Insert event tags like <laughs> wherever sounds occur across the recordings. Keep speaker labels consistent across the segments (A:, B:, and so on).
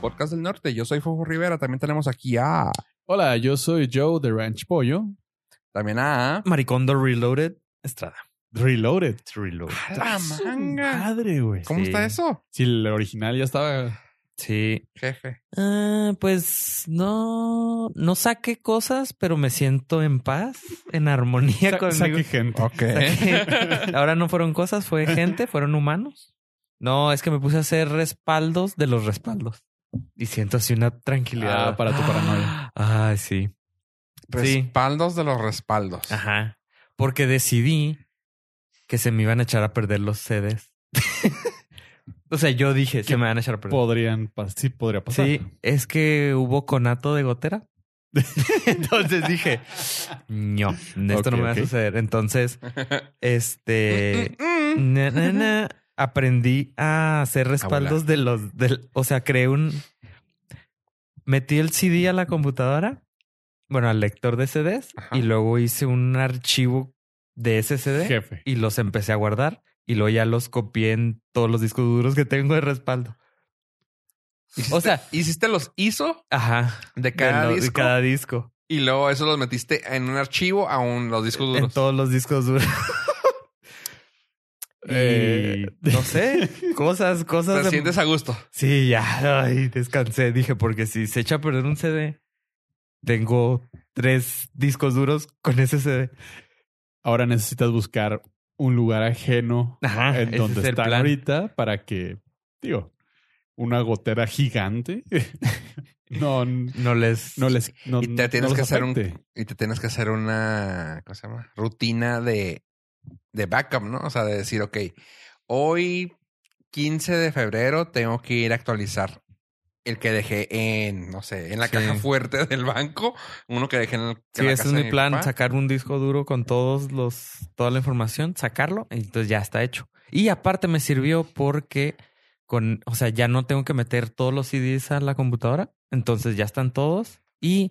A: Podcast del Norte. Yo soy Fofo Rivera. También tenemos aquí a.
B: Hola, yo soy Joe de Ranch Pollo.
A: También a.
C: Maricondo Reloaded Estrada.
B: Reloaded. Ah,
C: Reloaded.
A: ¡A la
B: Su
A: manga!
B: Madre, güey.
A: ¿Cómo
C: Sí.
A: está eso?
B: Si el original ya estaba.
C: Sí.
A: Jefe.
C: Ah, pues no, no saqué cosas, pero me siento en paz, en armonía
B: Sa-
C: conmigo.
B: saque
A: <laughs>
B: gente.
A: Ok.
C: Saqué- Ahora no fueron
B: <laughs>
C: cosas, fue gente, fueron humanos. No, es que me puse a hacer respaldos de los respaldos. Y siento así una tranquilidad.
B: Ah, para tu
C: <gasps>
B: paranoia.
C: Ah, sí. Sí.
A: Respaldos de los respaldos. <laughs>
C: Ajá. Porque decidí que se me iban a echar a perder los CDs. <laughs> o sea, yo dije, se me van a echar a perder.
B: Podrían. pas- Sí, podría pasar.
C: Sí, es que hubo conato de gotera. <laughs> Entonces dije, no, esto
B: Ok,
C: no me va a
B: ok.
C: suceder. Entonces,
A: <laughs>
C: este,
A: Mm, mm.
C: na, na, na, aprendí a hacer respaldos de los, del, o sea, creé un, metí el CD a la computadora, bueno, al lector de CDs,
A: Ajá.
C: y luego hice un archivo de ese CD
B: Jefe.
C: y los empecé a guardar y luego ya los copié en todos los discos duros que tengo de respaldo. O sea,
A: Hiciste los ISO
C: ajá.
A: de
C: De
A: cada
C: lo- de
A: disco
C: cada disco.
A: y luego eso los metiste en un archivo a un, los discos
C: En
A: duros.
C: todos los discos duros. Y
B: Eh.
C: no sé, <laughs> cosas, cosas.
A: Te
C: de-
A: sientes a gusto.
C: Sí, ya, ay, descansé. Dije, porque si se echa a perder un CD, tengo tres discos duros con ese CD.
B: Ahora necesitas buscar un lugar ajeno
C: Ajá,
B: en
C: Ah, ese
B: donde
C: es el
B: están
C: plan.
B: ahorita para que, digo, una gotera gigante <laughs> no, no
C: No les. <laughs>
B: les. No,
A: Y te tienes
B: no los
A: que hacer un-
B: afecte.
A: Y te tienes que hacer una, ¿cómo se llama? Rutina de, de backup, ¿no? O sea, de decir, ok, hoy 15 de febrero tengo que ir a actualizar el que dejé en, no sé, en la
C: Sí.
A: caja fuerte del banco, uno que dejé en, el, en
C: Sí,
A: la
C: ese
A: casa
C: es
A: de
C: mi plan,
A: papá.
C: sacar un disco duro con todos los, toda la información, sacarlo, y entonces ya está hecho. Y aparte me sirvió porque con, o sea, ya no tengo que meter todos los CDs a la computadora, entonces ya están todos. Y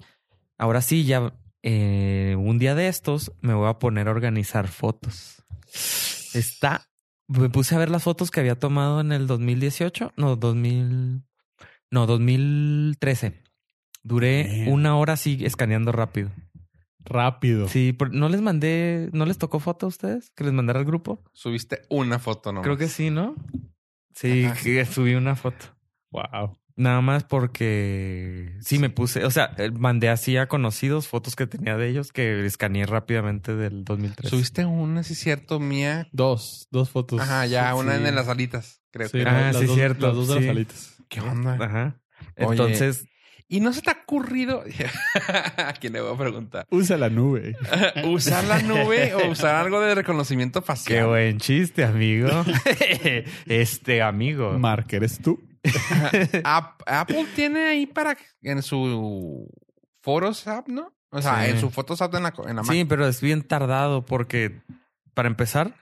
C: ahora sí, ya eh, un día de estos me voy a poner a organizar fotos. Está, me puse a ver las fotos que había tomado en el 2018, no, 2000, no, 2013. Duré
B: Bien.
C: una hora así escaneando rápido.
B: Rápido.
C: Sí, por- no les mandé, no les tocó foto a ustedes que les mandara al grupo.
A: Subiste una foto, ¿no?
C: Creo que sí, ¿no? Sí,
A: Ajá.
C: que subí una foto.
B: Wow.
C: Nada más porque sí me puse, o sea, eh, mandé así a conocidos fotos que tenía de ellos que escaneé rápidamente del 2003.
A: Subiste una, sí es cierto, mía.
B: Dos, dos fotos.
A: Ajá, ya,
B: Sí.
A: una en las alitas, creo
B: Sí,
A: que.
C: Ah,
B: la- las
C: sí,
B: dos-
C: cierto,
B: Las dos de
C: sí.
B: las alitas.
A: ¿Qué onda?
C: Ajá.
A: Oye.
C: Entonces,
A: ¿Y no se te ha ocurrido? <laughs> ¿A quién le voy a preguntar?
B: Usa la nube.
A: ¿Usar la nube o usar algo de reconocimiento facial?
C: qué buen
A: <laughs>
C: chiste, amigo. <laughs> este amigo.
B: Mark, eres tú.
A: App- Apple tiene ahí para en su Foros app, ¿no? O sea,
C: Sí.
A: en su Fotos app en la, co- en la
C: Sí,
A: Mac.
C: pero es bien tardado porque, para empezar,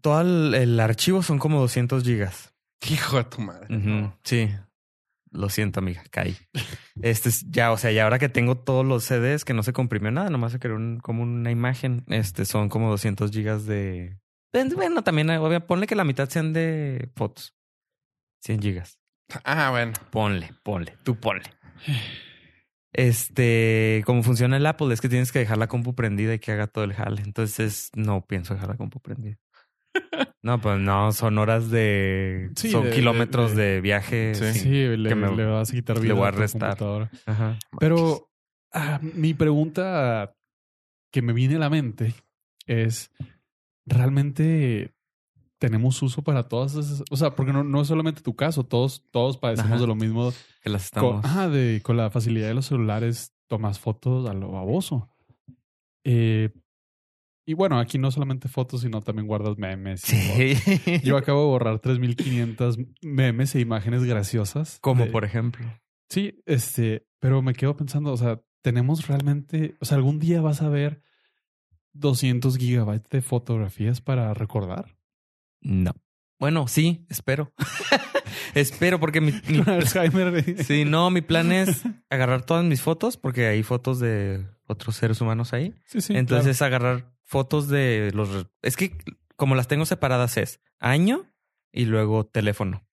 C: todo el, el archivo son como 200 gigas.
A: Hijo de tu madre.
C: Ujú, Sí. Lo siento, amiga, caí. Este es ya, o sea, y ahora que tengo todos los CDs que no se comprimió nada, nomás se creó un- como una imagen. Este son como 200 gigas de. Pues, Bueno, también, eh, obvia- ponle que la mitad sean de fotos. 100 gigas.
A: Ah, bueno. <laughs>
C: Ponle, ponle, tú ponle. <sighs> Este, como funciona el Apple, es que tienes que dejar la compu prendida y que haga todo el jale. Entonces, no pienso dejar la
B: <laughs>
C: compu prendida. No, pues no, son horas de.
B: Sí,
C: son
B: de- de-
C: kilómetros de,
B: de-
C: viaje.
B: Sí,
C: sin-
B: le,
C: que me-
B: le vas a quitar
C: le
B: vida
C: voy a
B: tu
C: restar.
B: computadora.
C: Ajá.
B: Pero ah, mi pregunta que me viene a la mente es: ¿realmente tenemos uso para todas esas? O sea, porque no, no es solamente tu caso, todos, todos padecemos
C: Ajá.
B: de lo mismo.
C: Que las
B: Con,
C: estamos.
B: ah, de, con la facilidad de los celulares, tomas fotos a lo baboso. Eh, y bueno, aquí no solamente fotos, sino también guardas memes. y fotos.
C: sí.
B: <laughs> Yo acabo de borrar 3.500 memes e imágenes graciosas.
C: <laughs> como
B: de-
C: por ejemplo.
B: Sí, este, pero me quedo pensando, o sea, tenemos realmente, o sea, algún día vas a ver 200 gigabytes de fotografías para
C: <laughs>
B: recordar.
C: No. Bueno, sí, espero. <laughs> espero porque mi,
B: <laughs>
C: mi-
B: Con Alzheimer. eh.
C: Sí, no, mi plan es agarrar todas mis fotos, porque hay fotos de otros seres humanos ahí.
B: sí, sí,
C: Entonces, agarrar fotos de los. re- Es que como las tengo separadas, es año y luego teléfono.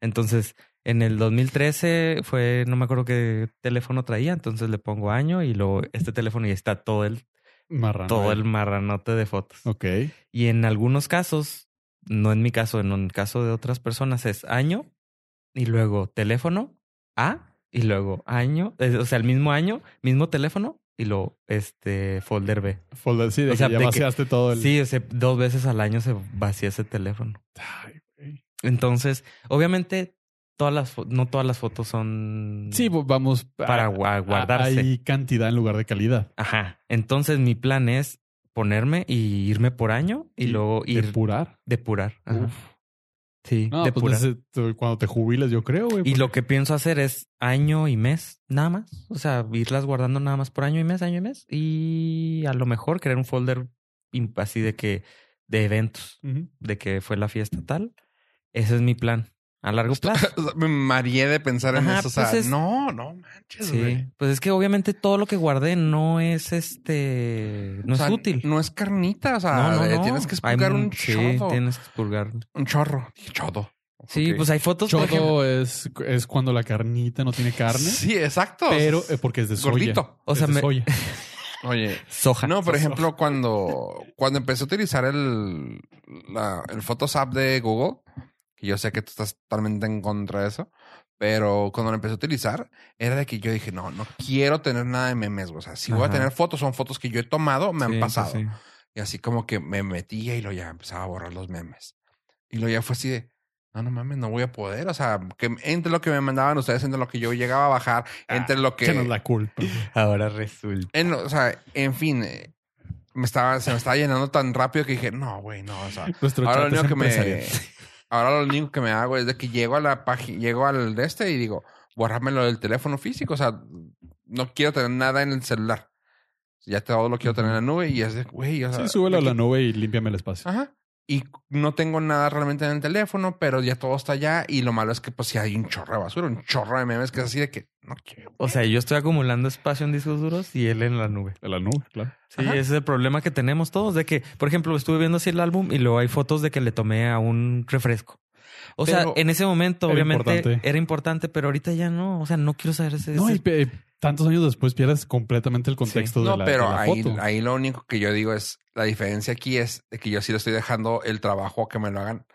C: Entonces, En el 2013 fue, no me acuerdo qué teléfono traía, entonces le pongo año y luego este teléfono y está todo el,
B: Marrano. eh.
C: todo el marranote de fotos.
B: Ok.
C: Y en algunos casos, no en mi caso, en el caso de otras personas, es año y luego teléfono A y luego año, eh, o sea, el mismo año, mismo teléfono y luego este folder B.
B: Folder, sí, de
C: O sea,
B: que ya
C: de que-
B: vaciaste todo el.
C: Sí, o sea, dos veces al año se vacía ese teléfono.
B: Ay, güey.
C: Entonces, obviamente, todas las fo- no todas las fotos son
B: Sí, pues, vamos. a-
C: para gua- guardarse.
B: Hay cantidad en lugar de calidad.
C: Ajá. Entonces, mi plan es ponerme y irme por año y
B: Sí,
C: luego ir
B: Depurar.
C: depurar. Ajá.
B: Uf.
C: Sí,
B: No,
C: depurar.
B: pues ese- tú- cuando te jubiles, yo creo, güey.
C: Y lo que pienso hacer es año y mes, nada más. O sea, irlas guardando nada más por año y mes, año y mes. Y a lo mejor crear un folder imp- así de que de eventos,
B: Ujú.
C: de que fue la fiesta tal. Ese es mi plan. A largo plazo.
A: O sea, Me mareé de pensar en
C: Ajá,
A: eso. O sea,
C: pues es-
A: no, no manches,
C: Sí.
A: güey.
C: Pues es que obviamente todo lo que guardé no es este. No
A: O sea,
C: es útil.
A: No es carnita, o sea,
C: No, no,
A: eh,
C: no.
A: tienes que
C: Hay
A: explicar
C: mu-
A: un
C: sí,
A: chorro.
C: tienes que expurgar.
A: Un chorro. Dije, Chodo.
C: Sí,
A: Ok.
C: pues hay fotos. por ejemplo.
B: Chodo es, es cuando la carnita no tiene carne,
A: Sí, exacto.
B: pero
C: pues,
B: eh, porque es de soya.
A: Gordito.
C: O
B: Es
C: sea,
B: de
C: me- <laughs>
B: soya.
A: Oye.
C: Soja.
A: Ah, No, por ejemplo,
C: <laughs>
A: cuando, cuando empecé a utilizar el, la- el Photos app de Google, que yo sé que tú estás totalmente en contra de eso, pero cuando lo empecé a utilizar, era de que yo dije, no, no quiero tener nada de memes. güey. O sea, si voy a
C: Ajá.
A: tener fotos, son fotos que yo he tomado, me
C: Sí,
A: han
C: sí,
A: pasado.
C: sí.
A: Y así como que me metía y lo ya empezaba a borrar los memes. Y lo ya fue así de, no, no mames, no voy a poder. O sea, que entre lo que me mandaban ustedes, entre lo que yo llegaba a bajar,
C: Ah,
A: entre lo que...
B: Échanos la culpa. güey.
C: Ahora resulta.
A: En, o sea, en fin, eh, me estaba, se me estaba llenando tan rápido que dije, no, güey, no, o sea,
B: Nuestro
A: ahora lo
B: chat es
A: único que me,
B: empresarial.
A: <laughs> ahora lo único que me hago es de que llego a la página, llego al de este y digo, borrámelo del teléfono físico, o sea, no quiero tener nada en el celular. Ya todo lo quiero tener en la nube y es de, güey,
C: Ah,
A: o sea,
B: Sí, súbelo a
A: de
B: la
A: que-
B: nube y límpiame el espacio.
A: Ajá. Y no tengo nada realmente en el teléfono, pero ya todo está allá. Y lo malo es que, pues, si hay un chorro de basura, un chorro de memes que es así de que no quiero.
C: O sea, yo estoy acumulando espacio en discos duros y él en la nube.
B: A la nube, claro.
C: Sí,
A: Ajá.
C: ese es el problema que tenemos todos. De que, por ejemplo, estuve viendo así el álbum y luego hay fotos de que le tomé a un refresco. O sea,
A: Pero
C: en ese momento,
B: era
C: obviamente,
B: importante.
C: era importante, pero ahorita ya no. O sea, no quiero saber ese.
B: No,
C: ese-
B: y pe- tantos años después pierdes completamente el contexto de,
A: No,
B: la, de
A: pero
B: la
A: ahí,
B: foto.
A: ahí lo único que yo digo es, la diferencia aquí es de que yo sí le estoy dejando el trabajo a que me lo hagan.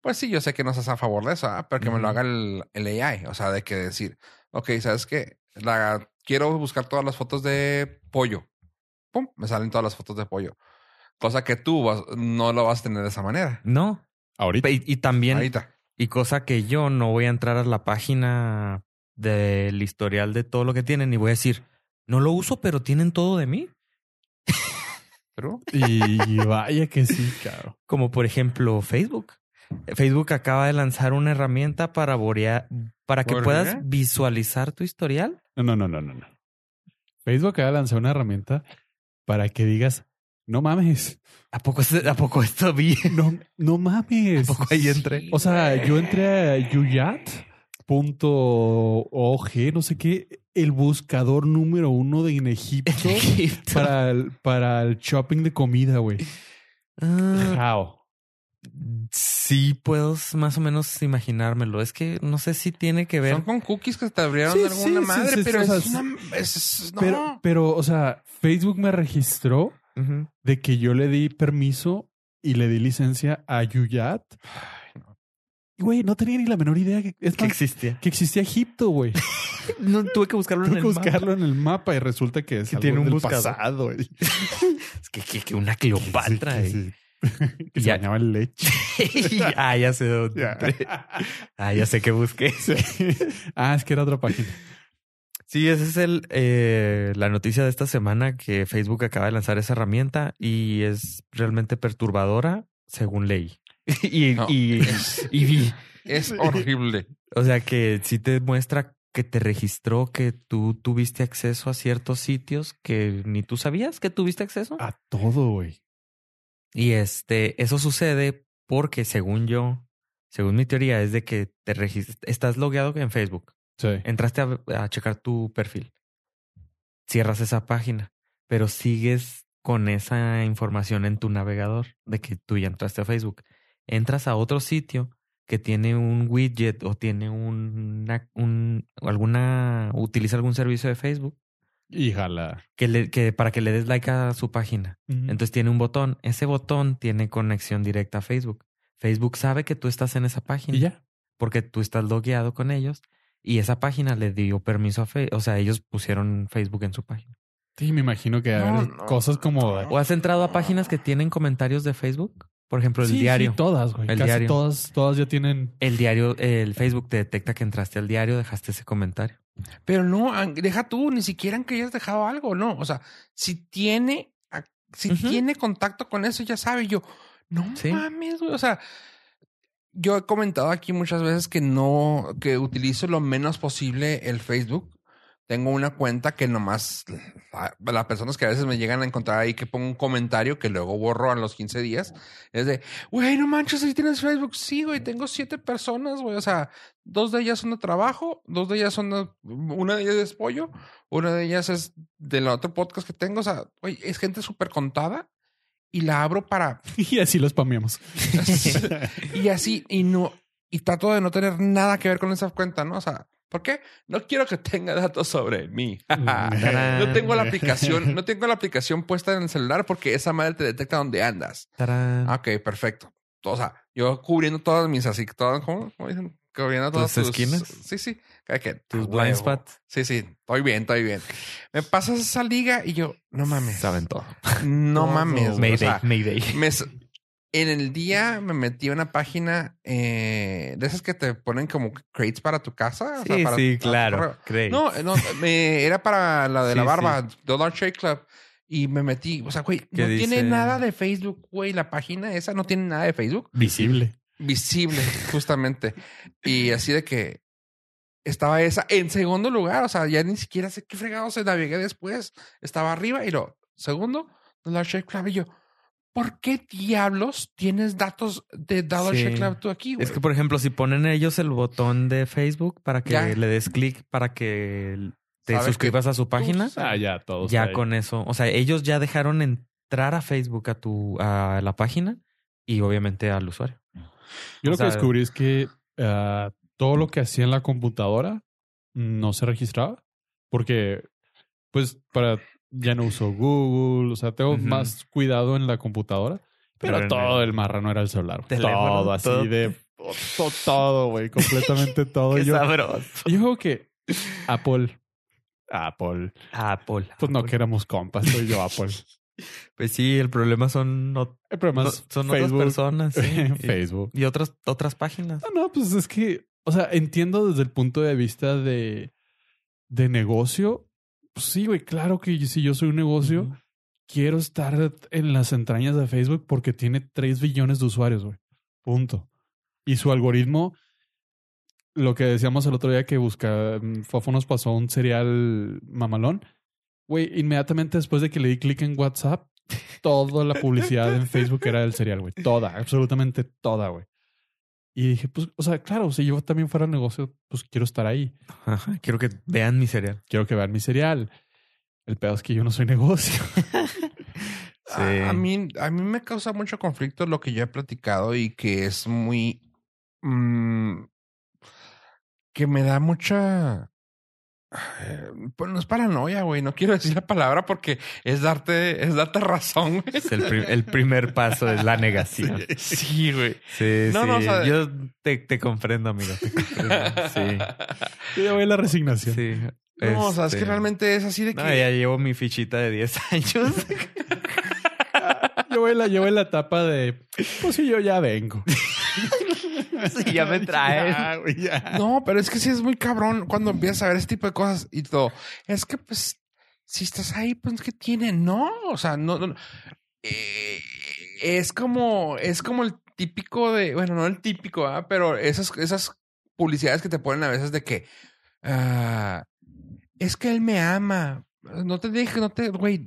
A: Pues sí, yo sé que no estás a favor de eso, ¿ah? pero que me lo
C: Ujú.
A: haga el, el AI. O sea, de que decir, ok, ¿sabes qué? La, quiero buscar todas las fotos de pollo. Pum, me salen todas las fotos de pollo. Cosa que tú vas- no lo vas a tener de esa manera.
C: No.
B: Ahorita.
C: Y, y también,
A: Ahorita.
C: y cosa que yo no voy a entrar a la página del historial de todo lo que tienen y voy a decir, no lo uso, pero tienen todo de mí.
A: Pero
B: Y vaya que sí, claro.
C: como por ejemplo Facebook. Facebook acaba de lanzar una herramienta para borear, para que
A: ¿Borear?
C: puedas visualizar tu historial.
B: No, no, no, no, no. no. Facebook acaba de lanzar una herramienta para que digas, no mames,
C: ¿A poco, se- ¿a poco esto vi?
B: no, no mames.
C: <laughs> ¿A poco ahí entré?
B: O sea, yo entré a yuyat.org, no sé qué, el buscador número uno de en
C: <laughs>
B: Egipto para el, para el shopping de comida, güey.
C: Ah,
B: Rao.
C: sí, puedo más o menos imaginármelo. Es que no sé si tiene que ver.
A: son con cookies que te abrieron
B: Sí,
A: de alguna
B: sí, sí,
A: madre,
B: sí,
A: pero
B: o sea,
A: es una- es- es- no.
B: Pero, pero, o sea, Facebook me registró
C: Ujú.
B: de que yo le di permiso y le di licencia a Yuyat. Y, Güey, no tenía ni la menor idea que, es
C: Que
B: más,
C: existía.
B: <laughs> que existía Egipto,
C: <laughs>
B: güey.
C: No, tuve que buscarlo
B: Ah. Tuve
C: en
B: que
C: el mapa.
B: buscarlo en el mapa y resulta que es
C: Que
B: algo
C: tiene un
B: del
C: buscador.
B: pasado. güey.
C: Es que, que- que una Cleopatra. eh.
B: Sí, sí, <laughs> sí. Que se
C: Ya.
B: bañaba en leche.
C: ah, <laughs> ya sé dónde.
B: Ya.
C: entré. <laughs> Ah, ya sé que
B: <laughs>
C: busqué.
B: Sí. Ah, es que era otra página.
C: Sí, esa es el, eh, la noticia de esta semana que Facebook acaba de lanzar esa herramienta y es realmente perturbadora, según ley. <laughs> y,
A: No.
C: y, y vi.
A: <laughs>
B: <laughs>
A: Es horrible.
C: O sea que sí te muestra que te registró, que tú tuviste acceso a ciertos sitios que ni tú sabías que tuviste acceso.
B: A todo, güey.
C: Y este, eso sucede porque, según yo, según mi teoría, es de que te regis- estás logueado en Facebook.
B: Sí.
C: entraste a, a checar tu perfil, cierras esa página, pero sigues con esa información en tu navegador de que tú ya entraste a Facebook. Entras a otro sitio que tiene un widget o tiene una, un, alguna, utiliza algún servicio de Facebook,
B: Y jala.
C: que, le, que para que le des like a su página. Entonces tiene un botón. Ese botón tiene conexión directa a Facebook. Facebook sabe que tú estás en esa página
B: y ya.
C: porque tú estás logueado con ellos y esa página le dio permiso a Facebook. O sea, ellos pusieron Facebook en su página.
B: Sí, me imagino que a
A: No,
B: ver,
A: no.
B: cosas como.
A: No.
C: ¿O has entrado a páginas que tienen comentarios de Facebook? Por ejemplo, el
B: Sí, sí,
C: diario.
B: todas, güey.
C: El
B: Casi
C: diario.
B: todas, todas ya tienen. <laughs>
C: el diario, el Facebook te detecta que entraste al diario, dejaste ese comentario.
A: Pero no, an- deja tú, ni siquiera que hayas dejado algo, no. O sea, si tiene, ac- si
C: Ujú.
A: tiene contacto con eso, ya sabe. Yo, no
C: Sí.
A: mames, güey. O sea, yo he comentado aquí muchas veces que no, que utilizo lo menos posible el Facebook. Tengo una cuenta que nomás la- las personas que a veces me llegan a encontrar ahí que pongo un comentario que luego borro a los 15 días. Es de, güey, no manches, ahí tienes Facebook. Sí, güey, tengo siete personas, güey. O sea, dos de ellas son de trabajo, dos de ellas son de, una de ellas es pollo, una de ellas es del otro podcast que tengo. O sea, güey, es gente súper contada y la abro para
B: Y así los spameamos.
C: <laughs>
A: <laughs> y así, y no, y trato de no tener nada que ver con esa cuenta, ¿no? O sea, ¿por qué? No quiero que tenga datos sobre mí. <laughs>
B: Mm, eh,
A: No Eh, tengo la aplicación,
C: <laughs>
A: no tengo la aplicación puesta en el celular porque esa madre te detecta dónde andas.
C: Tarán.
A: Ah, Ok, perfecto. O sea, yo cubriendo todas mis así, todas, ¿cómo, cómo dicen? Cubriendo todas
C: ¿Tus esquinas?
A: Sí, sí. Cada que-
C: Tus
A: Ah, huevo.
C: blind spots
A: Sí, sí. Estoy bien, estoy bien. Me pasas esa liga y yo, no mames.
C: saben todo.
A: No
B: Todo.
A: mames. güey. O
C: Mayday,
A: sea,
C: Mayday.
A: me s- en el día me metí a una página eh, de esas que te ponen como crates para tu casa. <laughs> o sea,
C: Sí,
A: para-
C: sí,
A: para tu correo.
C: claro. Crey.
A: No, no, me- era para la de la
C: Sí,
A: barba, Dollar Shave Club. Y me metí, o sea, güey, no tiene
C: dice?
A: nada de Facebook, güey. La página esa no tiene nada de Facebook
B: Visible.
A: visible, justamente. Y así de que estaba esa en segundo lugar. O sea, ya ni siquiera sé qué fregado se navegué después. Estaba arriba y lo segundo, Dollar Shave Club. Y yo, ¿por qué diablos tienes datos de Dollar
C: Sí.
A: Shave Club tú aquí, güey?
C: Es que, por ejemplo, si ponen ellos el botón de Facebook para que
A: Ya.
C: le des clic para que te
A: Sabes que
C: suscribas a su página,
A: sabes.
B: Ah, ya, todos.
C: ya
B: ahí.
C: con eso. O sea, ellos ya dejaron entrar a Facebook a tu a la página y obviamente al usuario.
B: Yo lo
C: o
B: que
C: sea-
B: descubrí es que ah, todo lo que hacía en la computadora mm, no se registraba porque, pues, para ya no uso Google, o sea, tengo
C: Ujú.
B: más cuidado en la computadora. Pero,
C: Pero en
B: todo el marrano era el celular. güey.
C: teléfono,
B: Todo así
C: todo.
B: de to- todo, güey.
C: <laughs>
B: Completamente todo.
C: Qué
B: Pues yo,
C: sabroso.
B: yo creo que Apple. Apple.
C: <laughs> Apple.
B: Pues no,
C: Apple.
B: que éramos compas, soy yo Apple.
C: Pues sí, el problema son, ot-
B: El problema es
C: son otras
B: Facebook. <laughs>
C: personas. sí. Y-
B: Facebook.
C: y otras, otras páginas.
B: No, no, pues es que, o sea, entiendo desde el punto de vista de, de negocio. Pues sí, güey, claro que si yo soy un negocio,
C: Ujú.
B: quiero estar en las entrañas de Facebook porque tiene 3 billones de usuarios, güey. Punto. Y su algoritmo, lo que decíamos el otro día que busca, mm, Fofo nos pasó un serial mamalón. Güey, inmediatamente después de que le di clic en WhatsApp, toda la publicidad en Facebook era del serial, güey. Toda, absolutamente toda, güey. Y dije, pues, o sea, claro, si yo también fuera al negocio, pues quiero estar ahí.
C: Ajá, Quiero que vean mi cereal.
B: Quiero que vean mi serial. El pedo es que yo no soy <laughs> negocio.
A: A-
B: Ah,
A: A, mí, a mí me causa mucho conflicto lo que yo he platicado y que es muy... mm, que me da mucha... eh, Pues no es paranoia, güey. No quiero decir la palabra porque es darte, es darte <laughs> razón, güey.
C: Es el, pri- el primer paso es
B: <laughs>
C: la negación.
A: Sí, güey.
C: Sí,
A: No,
C: sí.
A: no, o sea-
C: Yo te, te comprendo, amigo.
A: <laughs>
C: Te comprendo. Sí.
B: Yo ya voy a la resignación.
C: sí.
A: No, o sea, es que
C: Este,
A: realmente es así de que.
C: no, ya llevo mi fichita de 10 <laughs> años.
B: Yo voy a la, yo voy a la etapa de, pues si yo ya vengo.
C: <laughs> Sí, ya me traen.
B: Ya, güey, ya.
A: No, pero es que sí es muy cabrón cuando empiezas a ver ese tipo de cosas y todo. Es que, pues, si estás ahí, pues, ¿qué tiene? No, o sea, no, no. no. Eh, es como, es como el típico de, bueno, no el típico, ¿ah? pero esas, esas publicidades que te ponen a veces de que, ah, es que él me ama. No te dije, no te, güey,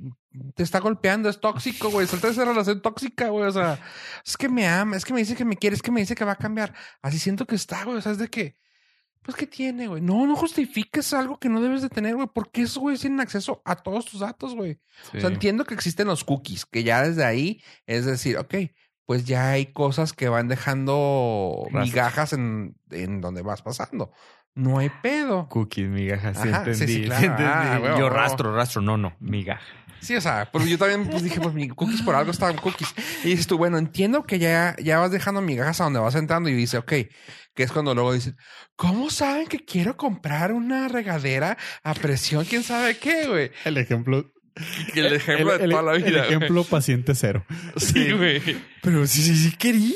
A: te está golpeando, es tóxico, güey, suelta esa relación tóxica, güey, o sea, es que me ama, es que me dice que me quiere, es que me dice que va a cambiar. Así siento que está, güey, o sea, es de que, pues, ¿qué tiene, güey? No, no justifiques algo que no debes de tener, güey. Porque esos güeyes tienen acceso a todos tus datos, güey. O sea, entiendo que existen los cookies, que ya desde ahí es decir, ok, pues ya hay cosas que van dejando
C: Rastro.
A: migajas en, en donde vas pasando. No hay pedo.
C: Cookies, migajas. Sí,
A: Ajá, sí,
C: entendí.
A: sí,
C: sí
A: claro. Ah,
C: entendí.
A: huevo,
C: Yo
A: huevo.
C: rastro, rastro. No, no, migaja.
A: Sí, o sea, pues yo también pues, dije, pues mi cookies por algo estaban cookies. Y dices tú, bueno, entiendo que ya, ya vas dejando migajas a donde vas entrando y dice, ok, que es cuando luego dices, ¿cómo saben que quiero comprar una regadera a presión? ¿Quién sabe qué, güey?
B: El ejemplo.
A: Que <laughs> El ejemplo de toda la vida.
B: El
A: güey.
B: ejemplo paciente cero.
A: <laughs> Sí, güey.
C: Pero sí, sí, sí quería.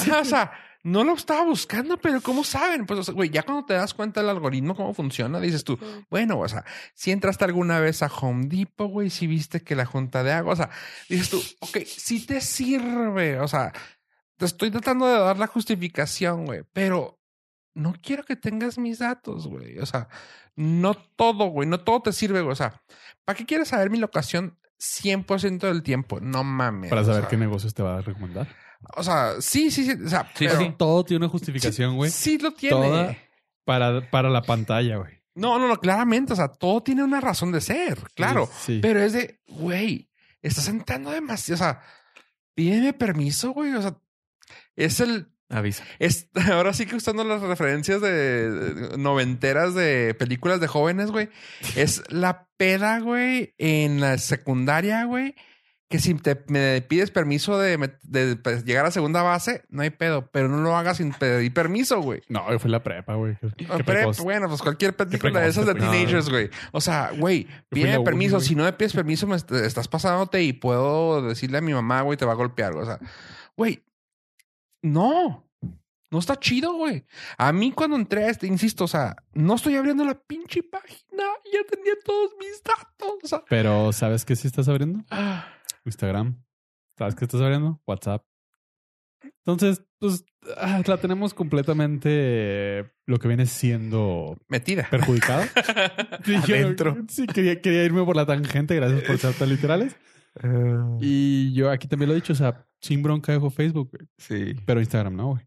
A: Ajá, <laughs> o sea, no lo estaba buscando, pero ¿cómo saben? Pues, o sea, güey, ya cuando te das cuenta del algoritmo, cómo funciona, dices tú, bueno, o sea, si entraste alguna vez a Home Depot, güey, si viste que la junta de agua, o sea, dices tú, ok, sí te sirve, o sea, te estoy tratando de dar la justificación, güey, pero no quiero que tengas mis datos, güey, o sea, no todo, güey, no todo te sirve, güey, o sea, ¿para qué quieres saber mi locación 100% del tiempo? No mames.
B: Para
A: o
B: saber
A: sea,
B: qué negocios te va a recomendar.
A: O sea, sí, sí, sí, o sea,
C: Sí,
A: pero-
C: sí.
B: Todo tiene una justificación, güey.
A: Sí, lo tiene.
B: Toda- Para, para la pantalla, güey.
A: No, no, no, claramente. O sea, todo tiene una razón de ser, claro.
B: Sí.
A: Pero es de, güey, estás entrando demasiado. O sea, pídeme permiso, güey. O sea, es el.
C: Avisa.
A: Es, <laughs> ahora sí que usando las referencias de, de- noventeras de películas de jóvenes, güey. Es la peda, güey, en la secundaria, güey. Que si te me pides permiso de, met- de, pues, llegar a segunda base, no hay pedo, pero no lo hagas sin pedir permiso, güey.
B: No, fue la prepa, güey. Qué- qué
A: Ah, pero,
B: precoz.
A: bueno, pues cualquier película de
B: precoz,
A: esas de
B: qué precoz.
A: teenagers, güey. O sea, güey,
B: fui la
A: pide
B: uni,
A: permiso.
B: güey.
A: Si no me pides permiso, me est- estás pasándote y puedo decirle a mi mamá, güey, te va a golpear. O sea, güey, no. No está chido, güey. A mí cuando entré a este, insisto, o sea, no estoy abriendo la pinche página. Ya tenía todos mis datos. O sea,
B: Pero ¿sabes qué sí estás abriendo?
A: ah,
B: Instagram. ¿Sabes qué estás abriendo? WhatsApp. Entonces, pues ah, la tenemos completamente eh, lo que viene siendo
A: metida.
B: perjudicado.
C: Adentro.
B: sí, quería, quería irme por la tangente. Gracias por ser tan literales. Y yo aquí también lo he dicho, o sea, sin bronca dejo Facebook, güey,
C: Sí.
B: pero Instagram no, güey.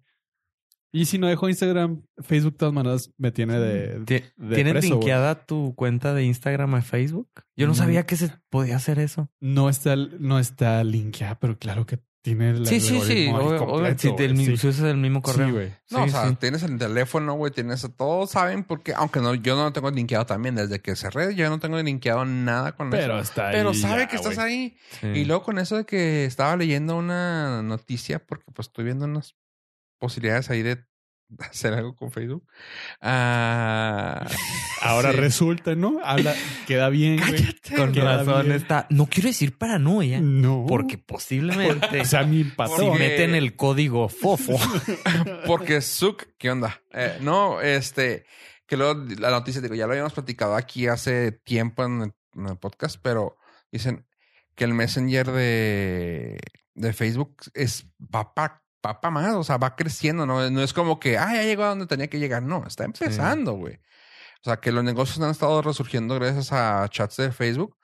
B: Y si no dejo Instagram, Facebook de todas maneras me tiene de...
C: Ti-
B: de
C: ¿Tienen
B: preso, güey.
C: linkeada tu cuenta de Instagram a Facebook? Yo no
B: Mm.
C: sabía que se podía hacer eso.
B: No está, no está linkeada, pero claro que tiene la
C: sí, sí, sí. obvio- obvio, si del mismo, si usas el mismo correo.
B: Sí, güey.
A: No,
C: Sí,
A: o sea,
C: sí.
A: tienes el teléfono, güey, tienes todos saben porque aunque no yo no lo tengo linkeado también desde que cerré, yo no tengo linkeado nada con eso.
B: Pero está ahí.
A: Pero sabe
B: ya,
A: que estás
B: güey.
A: ahí.
C: Sí.
A: Y luego con eso de que estaba leyendo una noticia, porque pues estoy viendo unas posibilidades ahí de <laughs> hacer algo con Facebook. Ah,
B: Ahora
A: sí.
B: resulta, ¿no? Habla, queda bien, <laughs> güey.
A: Cállate.
C: Con
B: Queda
C: razón
B: bien.
C: está. No quiero decir paranoia,
B: No.
C: porque posiblemente
B: O sea, mi
C: si
A: <laughs>
B: pasó.
A: Porque-
C: meten el
A: <laughs>
C: código fofo.
A: Porque Zuck, ¿qué onda? Eh, no, este, que luego la noticia, digo, ya lo habíamos platicado aquí hace tiempo en el, en el podcast, pero dicen que el Messenger de, de Facebook es papá, papá más, o sea, va creciendo, ¿no? No es como que, ah, ya llegó a donde tenía que llegar, no, está empezando, güey. O sea, que los negocios han estado resurgiendo gracias a chats de Facebook.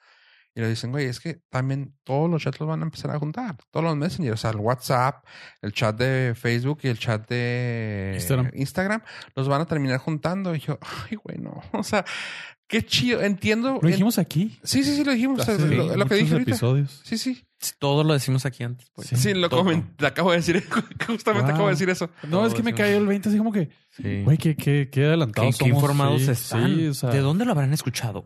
A: Y le dicen, güey, es que también todos los chats los van a empezar a juntar. Todos los messengers, o sea, el WhatsApp, el chat de Facebook y el chat de
B: Instagram.
A: Instagram, los van a terminar juntando. Y yo, ay, güey, no. <laughs> O sea, qué chido. Entiendo.
B: Lo dijimos aquí.
A: en- Sí, sí, sí, lo dijimos. O sea,
B: Hace
A: lo, lo que
B: muchos
A: dije ahorita.
B: episodios.
A: Sí, sí.
C: Todo lo decimos aquí antes. pues.
B: Sí.
A: Sí, lo
C: Todo.
A: comen- te acabo de decir. <laughs> Justamente acabo
B: Wow.
A: de decir eso.
B: No, es que me
C: Todo,
B: cayó el 20, así como que,
C: Sí.
B: güey, qué, qué, qué
C: ¿Qué,
B: adelantados
C: qué
B: somos.
C: informados
B: Sí,
C: están?
B: Sí, o sea,
C: ¿De dónde lo habrán escuchado?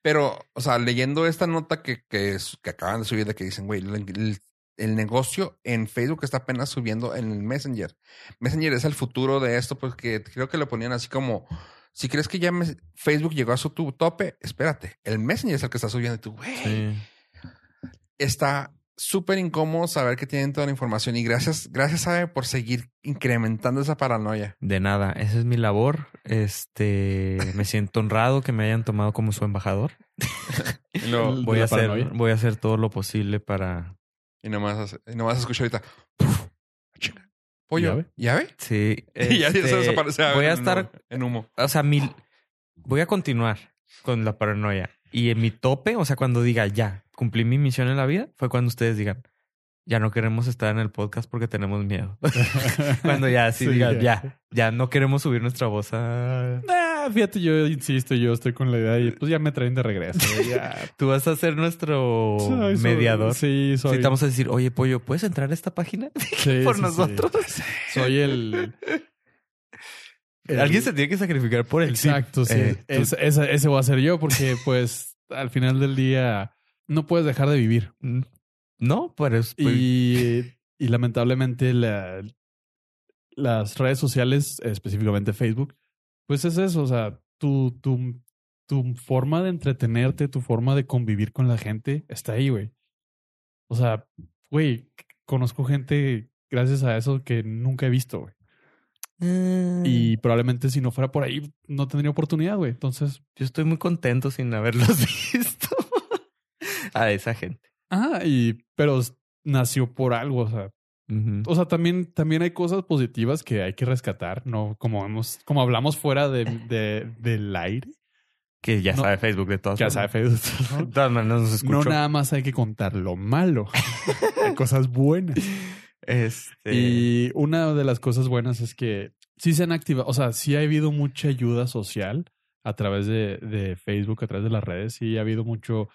A: Pero, o sea, leyendo esta nota que, que, es- que acaban de subir de que dicen, güey, el, el- el negocio en Facebook está apenas subiendo en el Messenger. Messenger es el futuro de esto porque creo que lo ponían así como, si crees que ya mes- Facebook llegó a su tu- tope, espérate, el Messenger es el que está subiendo. Y tú, güey, está súper incómodo saber que tienen toda la información y gracias, gracias, Abe, por seguir incrementando esa paranoia.
C: De nada, esa es mi labor. Este, me siento honrado que me hayan tomado como su embajador.
A: Y, luego-
B: El-
C: Voy
B: de
C: a
B: la
C: hacer,
B: paranoia.
C: voy a hacer todo lo posible para.
A: y nomás, hace- y nomás escucho ahorita, "Puf, chinga, pollo,
B: ¿Llave?
A: ¿llave?
B: <laughs>
C: Sí.
A: <laughs> Y ya
C: este,
A: se desaparece. a ver,
C: Voy a
A: en
C: estar,
A: humo- en humo.
C: o sea, mi, voy a continuar con la paranoia. Y en mi tope, o sea, cuando diga ya cumplí mi misión en la vida, fue cuando ustedes digan ya no queremos estar en el podcast porque tenemos
B: <laughs>
C: miedo. cuando ya así
B: Sí,
C: digan
B: ya.
C: ya. ya, no queremos subir nuestra voz a.
B: Ah, fíjate, yo insisto, yo estoy con la idea y pues ya me traen de regreso.
C: <laughs>
B: ya.
C: Tú vas a ser nuestro
B: Soy- soy-
C: mediador.
B: Sí,
C: Sí,
B: soy.
C: te vamos a decir, oye, pollo, ¿puedes entrar a esta página
B: sí,
C: <laughs> por
B: sí, sí.
C: nosotros?
B: Soy el. el-
C: <laughs> Alguien se tiene que sacrificar por el tip.
B: Eh, Exacto, sí.
C: Eh, tú-
B: Es- esa- ese voy a ser yo porque, pues, al final del día no puedes dejar de vivir.
C: Mm, No, pues, pero es-
B: Y, y lamentablemente la- las redes sociales, específicamente Facebook, pues es eso, o sea, tu, tu, tu forma de entretenerte, tu forma de convivir con la gente está ahí, güey. O sea, güey, conozco gente gracias a eso que nunca he visto, güey.
C: y Mm. eh,
B: Y probablemente si no fuera por ahí no tendría oportunidad, güey. Entonces,
C: yo estoy muy contento sin haberlos <laughs> visto a esa gente.
B: ah, y pero s- nació por algo, o sea, O sea, también, también hay cosas positivas que hay que rescatar, ¿no? Como hemos, como hablamos fuera de, de- del aire.
C: Que ya
B: No.
C: sabe Facebook de todas
B: Ya
C: formas.
B: sabe, Facebook,
C: De todas maneras
B: <laughs>
C: nos
B: ¿no? No
C: escuchó.
B: nada más hay que contar lo malo. hay cosas buenas.
C: Este,
B: Y una de las cosas buenas es que sí se han activado, o sea, sí ha habido mucha ayuda social a través de, de Facebook, a través de las redes, sí ha habido mucho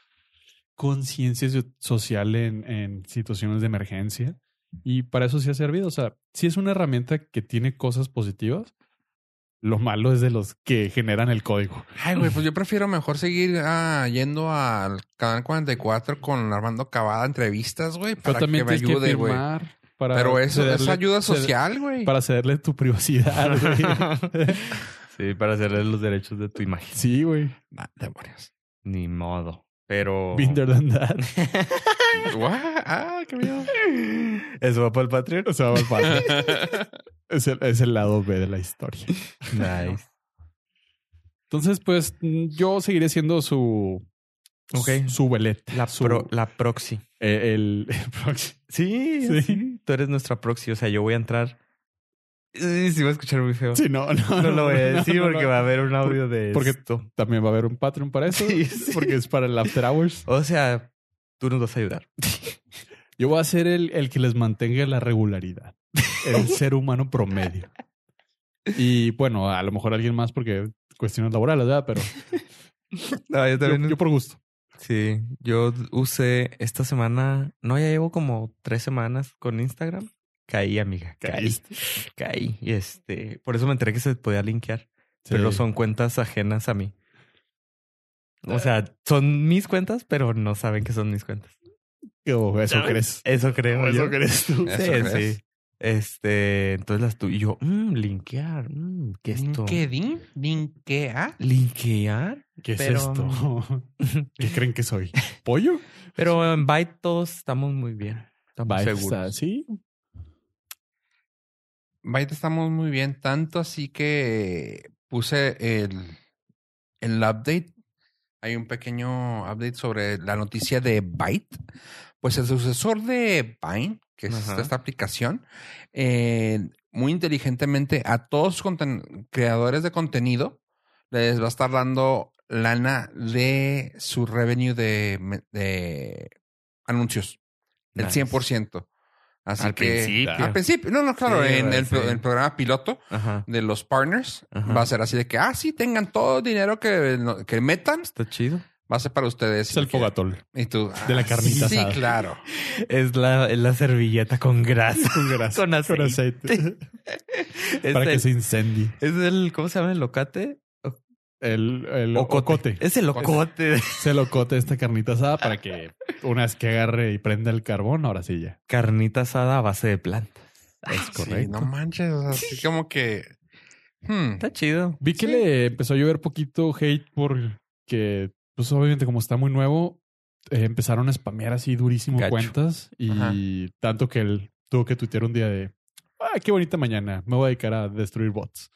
B: conciencia so- social en, en situaciones de emergencia y para eso sí ha servido, o sea, sí es una herramienta que tiene cosas positivas, lo malo es de los que generan el código.
A: Ay, güey, pues yo prefiero mejor seguir ah, yendo al canal 44 con Armando Cavada entrevistas, güey,
B: Pero
A: para que
B: también
A: me
B: tienes que
A: ayude, güey.
B: firmar para
A: Pero eso es
B: cederle-
A: ayuda
B: ceder-
A: social, güey.
B: para cederle tu
A: <laughs>
B: privacidad. güey.
C: Ah, sí, para hacerles los derechos de tu imagen.
B: sí, güey.
A: Ah, demonios.
C: Ni modo.
A: Oh.
C: Pero.
B: Binder than that.
A: <laughs> Guau, Ah, qué <laughs> miedo.
C: Eso va para el Patreon.
B: O sea, va <laughs> para- es, el, es el lado B de la historia.
C: Nice.
B: Entonces, pues mm, yo seguiré siendo su.
C: Ok.
B: Su velet.
C: La,
B: su-
C: pro- la proxy.
B: eh, el, <laughs> el proxy.
C: Sí,
B: Sí.
C: sí. Tú eres nuestra proxy. O sea, yo voy a entrar. Sí, sí, va a escuchar muy feo.
B: Sí, no, no.
C: No lo voy a
B: no, <laughs>
C: decir
B: no,
C: porque
B: no.
C: va a haber un audio de
B: porque-
C: esto.
B: También va a haber un Patreon para eso.
C: <laughs> Sí, sí.
B: Porque es para el After Hours.
C: O sea, tú nos vas a ayudar.
B: Yo voy a ser el, el que les mantenga la regularidad. <laughs> El ser humano promedio. Y bueno, a lo mejor alguien más porque cuestiones laborales, ¿verdad? Pero
C: No, yo
B: yo, yo por gusto.
C: Sí, yo usé esta semana, no, ya llevo como tres semanas con Instagram. Caí, amiga, caí,
B: Caíste.
C: caí. Y este, por eso me enteré que se podía linkear, pero
B: Sí.
C: son cuentas ajenas a mí. O sea, son mis cuentas, pero no saben que son mis cuentas.
B: Oh, eso crees.
C: Eso creo.
B: Eso
C: yo.
B: crees tú.
A: Eso
C: Sí,
A: crees.
C: sí. Este, entonces las tu y yo, mm, linkear, mm, ¿qué es esto?
A: LinkedIn, linkea.
C: ¿Linkear?
B: ¿Qué
C: Pero-
B: es esto? ¿Qué creen que soy? ¿Pollo?
C: Pero en Byte todos estamos muy bien. Estamos
B: Vaya,
C: seguros.
B: sí.
A: Byte estamos muy bien, tanto así que puse el, el update. Hay un pequeño update sobre la noticia de Byte. Pues el sucesor de Vine, que es
C: Ajá.
A: esta, esta aplicación, eh, muy inteligentemente a todos sus conten- creadores de contenido les va a estar dando lana de su revenue de, me- de anuncios. El
C: Nice.
A: 100%. Así
C: Al
A: que,
C: principio.
A: Al principio. No, no, claro.
C: Sí,
A: en
C: güey,
A: el,
C: sí.
A: el programa piloto
C: Ajá.
A: de los partners
C: Ajá.
A: va a ser así de que, ah, sí, tengan todo el dinero que, no- que metan.
C: Está chido.
A: Va a ser para ustedes.
B: Es el
A: Y que-
B: fogatol.
A: Y tú, ah,
B: de la carnita
A: Sí,
B: asada.
A: claro.
C: Es la, es la servilleta con grasa.
B: Con grasa.
C: <laughs> Con aceite. <laughs> Es,
B: Para que
C: el,
B: se incendie.
C: es el, ¿cómo se llama? ¿El locate?
B: El, el ocote.
C: Es el ocote.
B: Se locote esta carnita asada para que una vez que agarre y prenda el carbón, ahora sí ya.
C: <laughs> Carnita asada a base de planta.
B: Es
A: Sí, no manches. o sea, así como que. hmm,
C: Está chido.
B: Vi que
A: Sí.
B: le empezó a llover poquito hate porque, pues obviamente como está muy nuevo, eh, empezaron a spamear así durísimo
C: Gacho.
B: cuentas y
A: Ajá.
B: tanto que él tuvo que tuitear un día de, ay, qué bonita mañana, me voy a dedicar a destruir bots.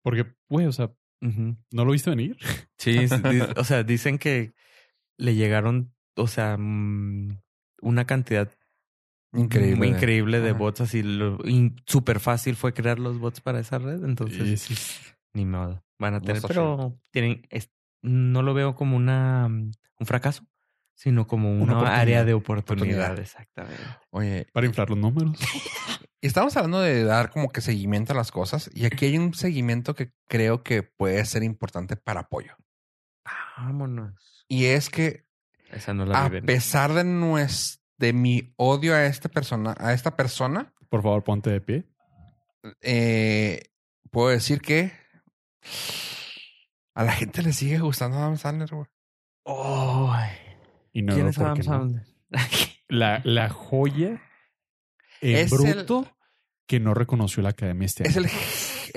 B: Porque, güey, o sea,
C: Ujú.
B: ¿no lo viste venir?
C: Sí, es- <laughs> di- o sea, dicen que le llegaron, o sea, mm, una cantidad
A: increíble.
C: muy increíble de
A: Ajá.
C: bots así. lo- in- Súper fácil fue crear los bots para esa red. Entonces,
B: Y sí,
C: Ni modo. Van a
A: No
C: tener,
A: está
C: pero tienen, es- no lo veo como una mm, un fracaso. sino como una,
B: oportunidad.
C: área de
A: Oportunidad.
C: oportunidad. Exactamente.
A: Oye,
B: Para inflar los números.
A: estamos hablando de dar como que seguimiento a las cosas y aquí hay un seguimiento que creo que puede ser importante para apoyo.
C: Vámonos.
A: Y es que
C: Esa no la
A: a
C: viven.
A: pesar de nues- de mi odio a esta persona, a esta persona,
B: Por favor, ponte de pie.
A: eh, puedo decir que a la gente le sigue gustando Adam Sandler, güey.
C: Ay,
B: Y no,
C: ¿Quién es
B: ¿por
C: Adam
B: qué no?
C: Sandler? <laughs>
B: La, la joya en
A: Es el-
B: bruto que no reconoció la academia este
A: Es
B: año.
A: el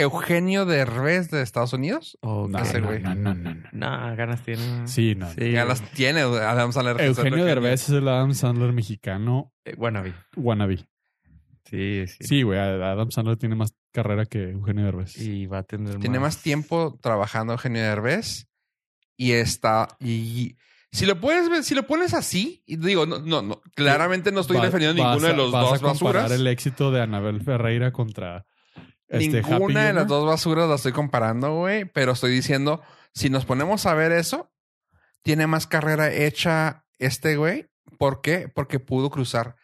A: Eugenio Derbez de Estados Unidos.
C: Oh,
B: No,
A: ese
B: no,
A: güey.
B: no, no, no, no.
C: No, ganas tiene.
B: Sí, no.
C: Sí,
A: Ya las tiene güey, Adam Sandler. que es el
B: Eugenio Derbez es el Adam Sandler mexicano
C: eh, wannabe.
B: wannabe.
C: Sí, sí.
B: Sí, güey, Adam Sandler tiene más carrera que Eugenio Derbez.
C: Y va a tener
A: Tiene más tiempo trabajando Eugenio Derbez y está y si lo puedes ver, si lo pones así, y digo, no, no, no, claramente no estoy
B: Va-
A: defendiendo
B: vas
A: ninguno de
B: a-
A: los
B: vas
A: dos
B: a comparar
A: basuras.
B: el éxito de Anabel Ferreira contra este Happy
A: Ninguna de las
B: Gilmore.
A: dos basuras la estoy comparando, güey. Pero estoy diciendo, si nos ponemos a ver eso, tiene más carrera hecha este güey. ¿Por qué? Porque pudo cruzar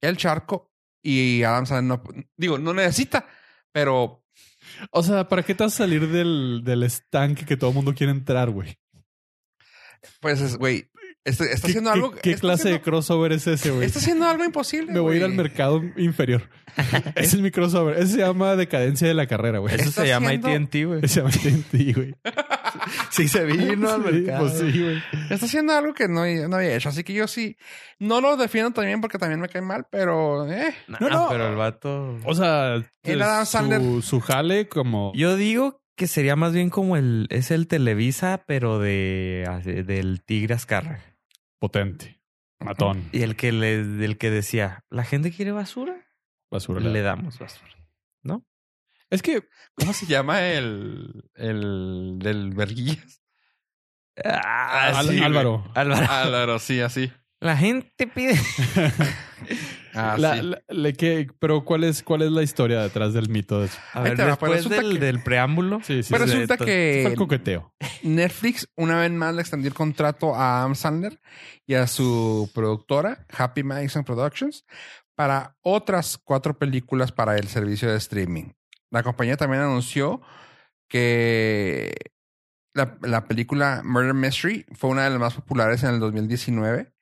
A: el charco y Adam Sandler no... Digo, no necesita, pero...
B: O sea, ¿para qué te vas a salir del, del estanque que todo el mundo quiere entrar, güey?
A: Pues, es- güey, este- está
B: ¿Qué-
A: haciendo
B: qué-
A: algo...
B: ¿Qué,
A: está
B: clase de
A: haciendo-
B: crossover es ese, güey?
A: Está haciendo algo imposible,
B: Me voy a ir
A: güey.
B: al mercado
A: <laughs>
B: inferior. Ese es mi crossover. Ese se llama decadencia de la carrera, güey.
C: Eso
A: Está
C: se llama
A: haciendo-
C: AT&T, güey.
B: Ese
A: <laughs>
B: se llama TNT, güey.
C: <laughs> Sí, se vino al
B: Sí,
C: mercado.
B: Pues sí, güey.
A: Está haciendo algo que no, no había hecho. Así que yo sí... No lo defiendo también porque también me cae mal, pero... eh.
B: No,
C: no,
B: no.
C: pero el vato...
B: O sea,
A: El Adam
B: su,
A: Sandler.
B: su jale como...
C: Yo digo que sería más bien como el... Es el Televisa, pero de... así- Del Tigre Azcárraga.
B: potente. Matón.
C: Y el que, le, el que decía, ¿la gente quiere basura?
B: Basura.
C: Le damos basura.
B: Es que
A: ¿Cómo se llama el... el... del verguillas? Ah,
B: Al-
A: sí, güey.
B: Álvaro.
C: Álvaro.
A: Álvaro, Ah, sí, así.
C: La gente pide...
A: Ah,
B: La- la- la que- pero ¿cuál es, ¿cuál es la historia detrás del mito de eso?
C: A
A: Ahí
C: ver,
A: te va, pues,
C: después
A: resulta
C: del,
A: que-
C: del preámbulo...
B: Sí, sí.
A: Pero Pues
B: sí.
C: es-
A: resulta
C: esto-
B: Fue el
A: que
B: coqueteo.
A: Netflix una vez más le extendió el contrato a Adam Sandler y a su productora, Happy Madison Productions, para otras cuatro películas para el servicio de streaming. La compañía también anunció que la, la película Murder Mystery fue una de las más populares en el 2019.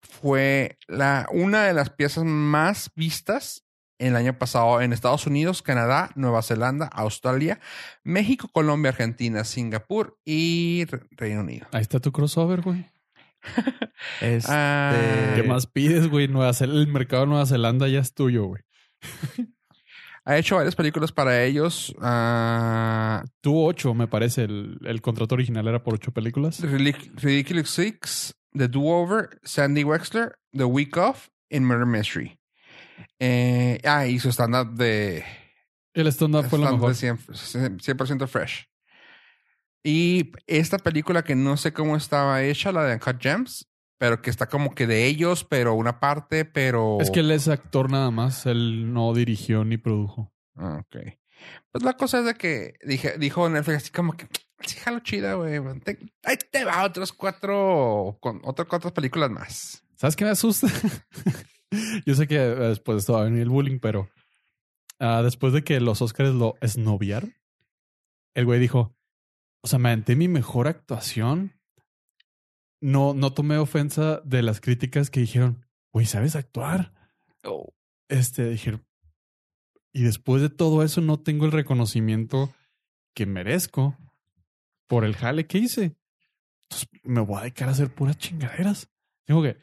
A: Fue la, una de las piezas más vistas el año pasado en Estados Unidos, Canadá, Nueva Zelanda, Australia, México, Colombia, Argentina, Singapur y Re- Reino Unido.
B: Ahí está tu crossover, güey.
C: Este,
A: Ah,
B: ¿Qué más pides, güey? Nueva Zel- el mercado de Nueva Zelanda ya es tuyo, güey.
A: Ha hecho varias películas para ellos. ah,
B: Tú ocho, me parece. El, el contrato original era por ocho películas.
A: Ridic- Ridiculous Six, The Do-Over, Sandy Wexler, The Week Off y Murder Mystery. Eh, ah, y su stand-up de...
B: El stand-up fue lo
A: stand-up
B: mejor.
A: de 100%, 100% fresh. Y esta película que no sé cómo estaba hecha, la de Uncut Gems, pero que está como que de ellos, pero una parte, pero...
B: Es que él es actor nada más. Él no dirigió ni produjo.
A: Ah, Ok. Pues la cosa es de que dije, dijo Netflix así como que sí, jalo chida, güey. Te- ahí te va otros cuatro, con otras cuatro películas más.
B: ¿Sabes qué me asusta? <laughs> Yo sé que eh, después de esto va a venir el bullying, pero ah, después de que los Oscars lo esnoviaron, el güey dijo, o sea, me aventé mi mejor actuación. No, no tomé ofensa de las críticas que dijeron, güey, ¿sabes actuar?
C: oh,
B: Este, dijeron, y después de todo eso no tengo el reconocimiento que merezco por el jale que hice. Entonces me voy a dedicar a hacer puras chingaderas. Digo que,